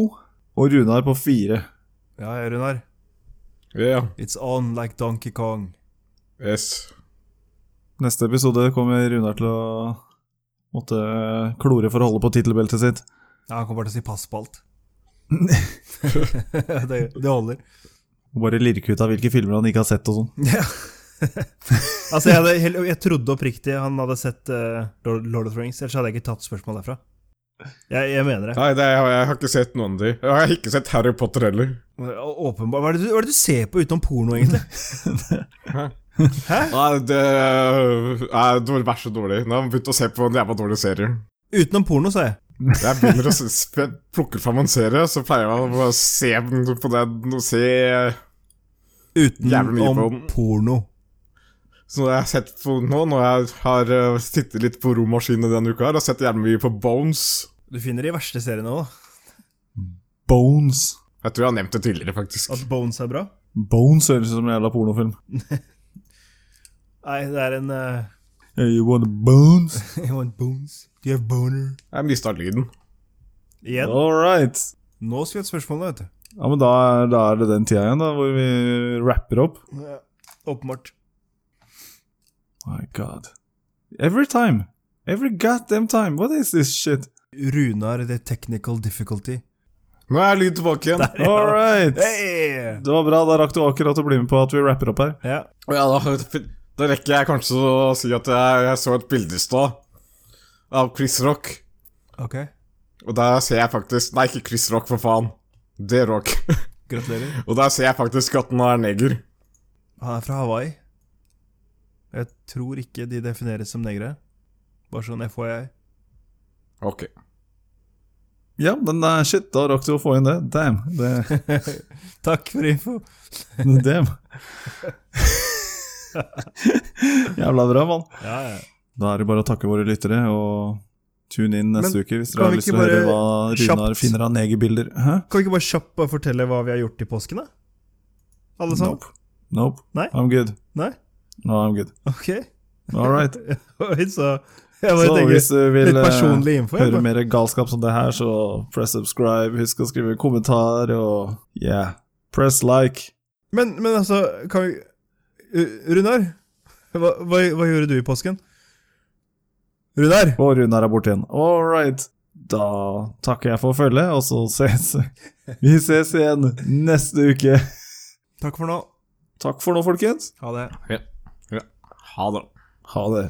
Speaker 1: Og Runar på fire.
Speaker 2: ja, ja, Runar.
Speaker 3: Ja.
Speaker 2: It's on like Donkey Kong.
Speaker 3: Yes.
Speaker 1: Neste episode kommer Runar til å måtte klore for å holde på tittelbeltet sitt.
Speaker 2: Ja, han kommer bare til å si pass på alt. det, det holder.
Speaker 1: Og bare lirke ut av hvilke filmer han ikke har sett og sånn.
Speaker 2: Ja. altså, jeg, hadde, hel- jeg trodde oppriktig han hadde sett eh, Lord Lord of the Rings, ellers hadde jeg ikke tatt spørsmål derfra. Jeg, jeg mener det.
Speaker 3: Nei, det er, jeg har ikke sett noen av de. Jeg har ikke sett Harry Potter heller.
Speaker 2: Å- Åpenbart. Hva er, det du, hva er det du ser på utenom porno, egentlig?
Speaker 3: Nei, det er dårlig, vær så dårlig. Nå har jeg begynt å se på en jævla dårlig serie.
Speaker 2: Utenom porno, sa jeg.
Speaker 3: Jeg begynner å s- sp- plukke fram en serie, så pleier jeg å bare se den på den og se Jævlig mye
Speaker 2: Utenom
Speaker 3: porno.
Speaker 2: porno.
Speaker 3: Så jeg har sett på nå, når jeg har eh, sittet litt på romaskinen denne uka, her, har jeg sett jævlig mye på Bones.
Speaker 2: Du finner de verste seriene òg, da.
Speaker 1: Bones.
Speaker 3: Jeg tror jeg har nevnt det tidligere, faktisk.
Speaker 2: At Bones er bra.
Speaker 1: Bones høres ut som en jævla pornofilm.
Speaker 2: Nei, det er en eh,
Speaker 1: Hey, you want bones?
Speaker 2: You want bones? Do you have boner?
Speaker 3: Jeg mista lyden.
Speaker 2: Igjen.
Speaker 1: All right.
Speaker 2: Nå skal vi ha et spørsmål, da, vet
Speaker 1: Ja, men da er, da er det den tida igjen, da, hvor vi rapper opp.
Speaker 2: du. Ja. Åpenbart.
Speaker 1: Oh My god. Every time. Every goddamn time. What is this shit?
Speaker 2: Runar the technical difficulty.
Speaker 3: Nå er lyd tilbake igjen.
Speaker 1: All right.
Speaker 2: Hey!
Speaker 1: Det var bra. Da rakk du akkurat å bli med på at vi rapper opp her.
Speaker 2: Ja.
Speaker 3: Og Ja, da, da rekker jeg kanskje å si at jeg, jeg så et bilde i stad av Chris Rock.
Speaker 2: Ok.
Speaker 3: Og der ser jeg faktisk Nei, ikke Chris Rock, for faen. Det Rock.
Speaker 2: Gratulerer.
Speaker 3: Og der ser jeg faktisk at han er neger.
Speaker 2: Han er fra Hawaii. Jeg tror ikke de defineres som negre. Bare sånn FYI.
Speaker 3: Ok.
Speaker 1: Ja, den der shit. Da rakk du å få inn det. Damn. Det,
Speaker 2: Takk for info.
Speaker 1: damn. Jævla bra, mann.
Speaker 2: Ja, ja.
Speaker 1: Da er det bare å takke våre lyttere og tune inn neste
Speaker 2: Men
Speaker 1: uke hvis
Speaker 2: kan
Speaker 1: dere har
Speaker 2: vi
Speaker 1: lyst
Speaker 2: ikke
Speaker 1: til å høre
Speaker 2: bare
Speaker 1: hva Runar
Speaker 2: kjapt-
Speaker 1: finner av negerbilder. Hæ?
Speaker 2: Kan vi ikke bare kjapt bare fortelle hva vi har gjort i påsken, da? Alle sammen?
Speaker 1: Nope. Nope.
Speaker 2: sånn? Nei?
Speaker 1: I'm good.
Speaker 2: Nei?
Speaker 1: No, I'm good.
Speaker 2: Ok.
Speaker 1: All right.
Speaker 2: Oi, så Jeg bare
Speaker 1: Så
Speaker 2: tenker
Speaker 1: hvis du vil
Speaker 2: litt
Speaker 1: eh,
Speaker 2: personlig info. jeg
Speaker 1: Hører
Speaker 2: bare.
Speaker 1: mer galskap som det her, så press subscribe, husk å skrive kommentar, og yeah, press like.
Speaker 2: Men, men altså, kan vi Ru- Runar? Hva, hva, hva gjorde du i påsken? Runar?
Speaker 1: Og Runar er borte igjen. All right. Da takker jeg for følget, og så ses vi ses igjen neste uke.
Speaker 2: Takk for nå.
Speaker 1: Takk for nå, folkens.
Speaker 2: Ha det.
Speaker 3: Ja. ja. Ha det.
Speaker 1: Ha det.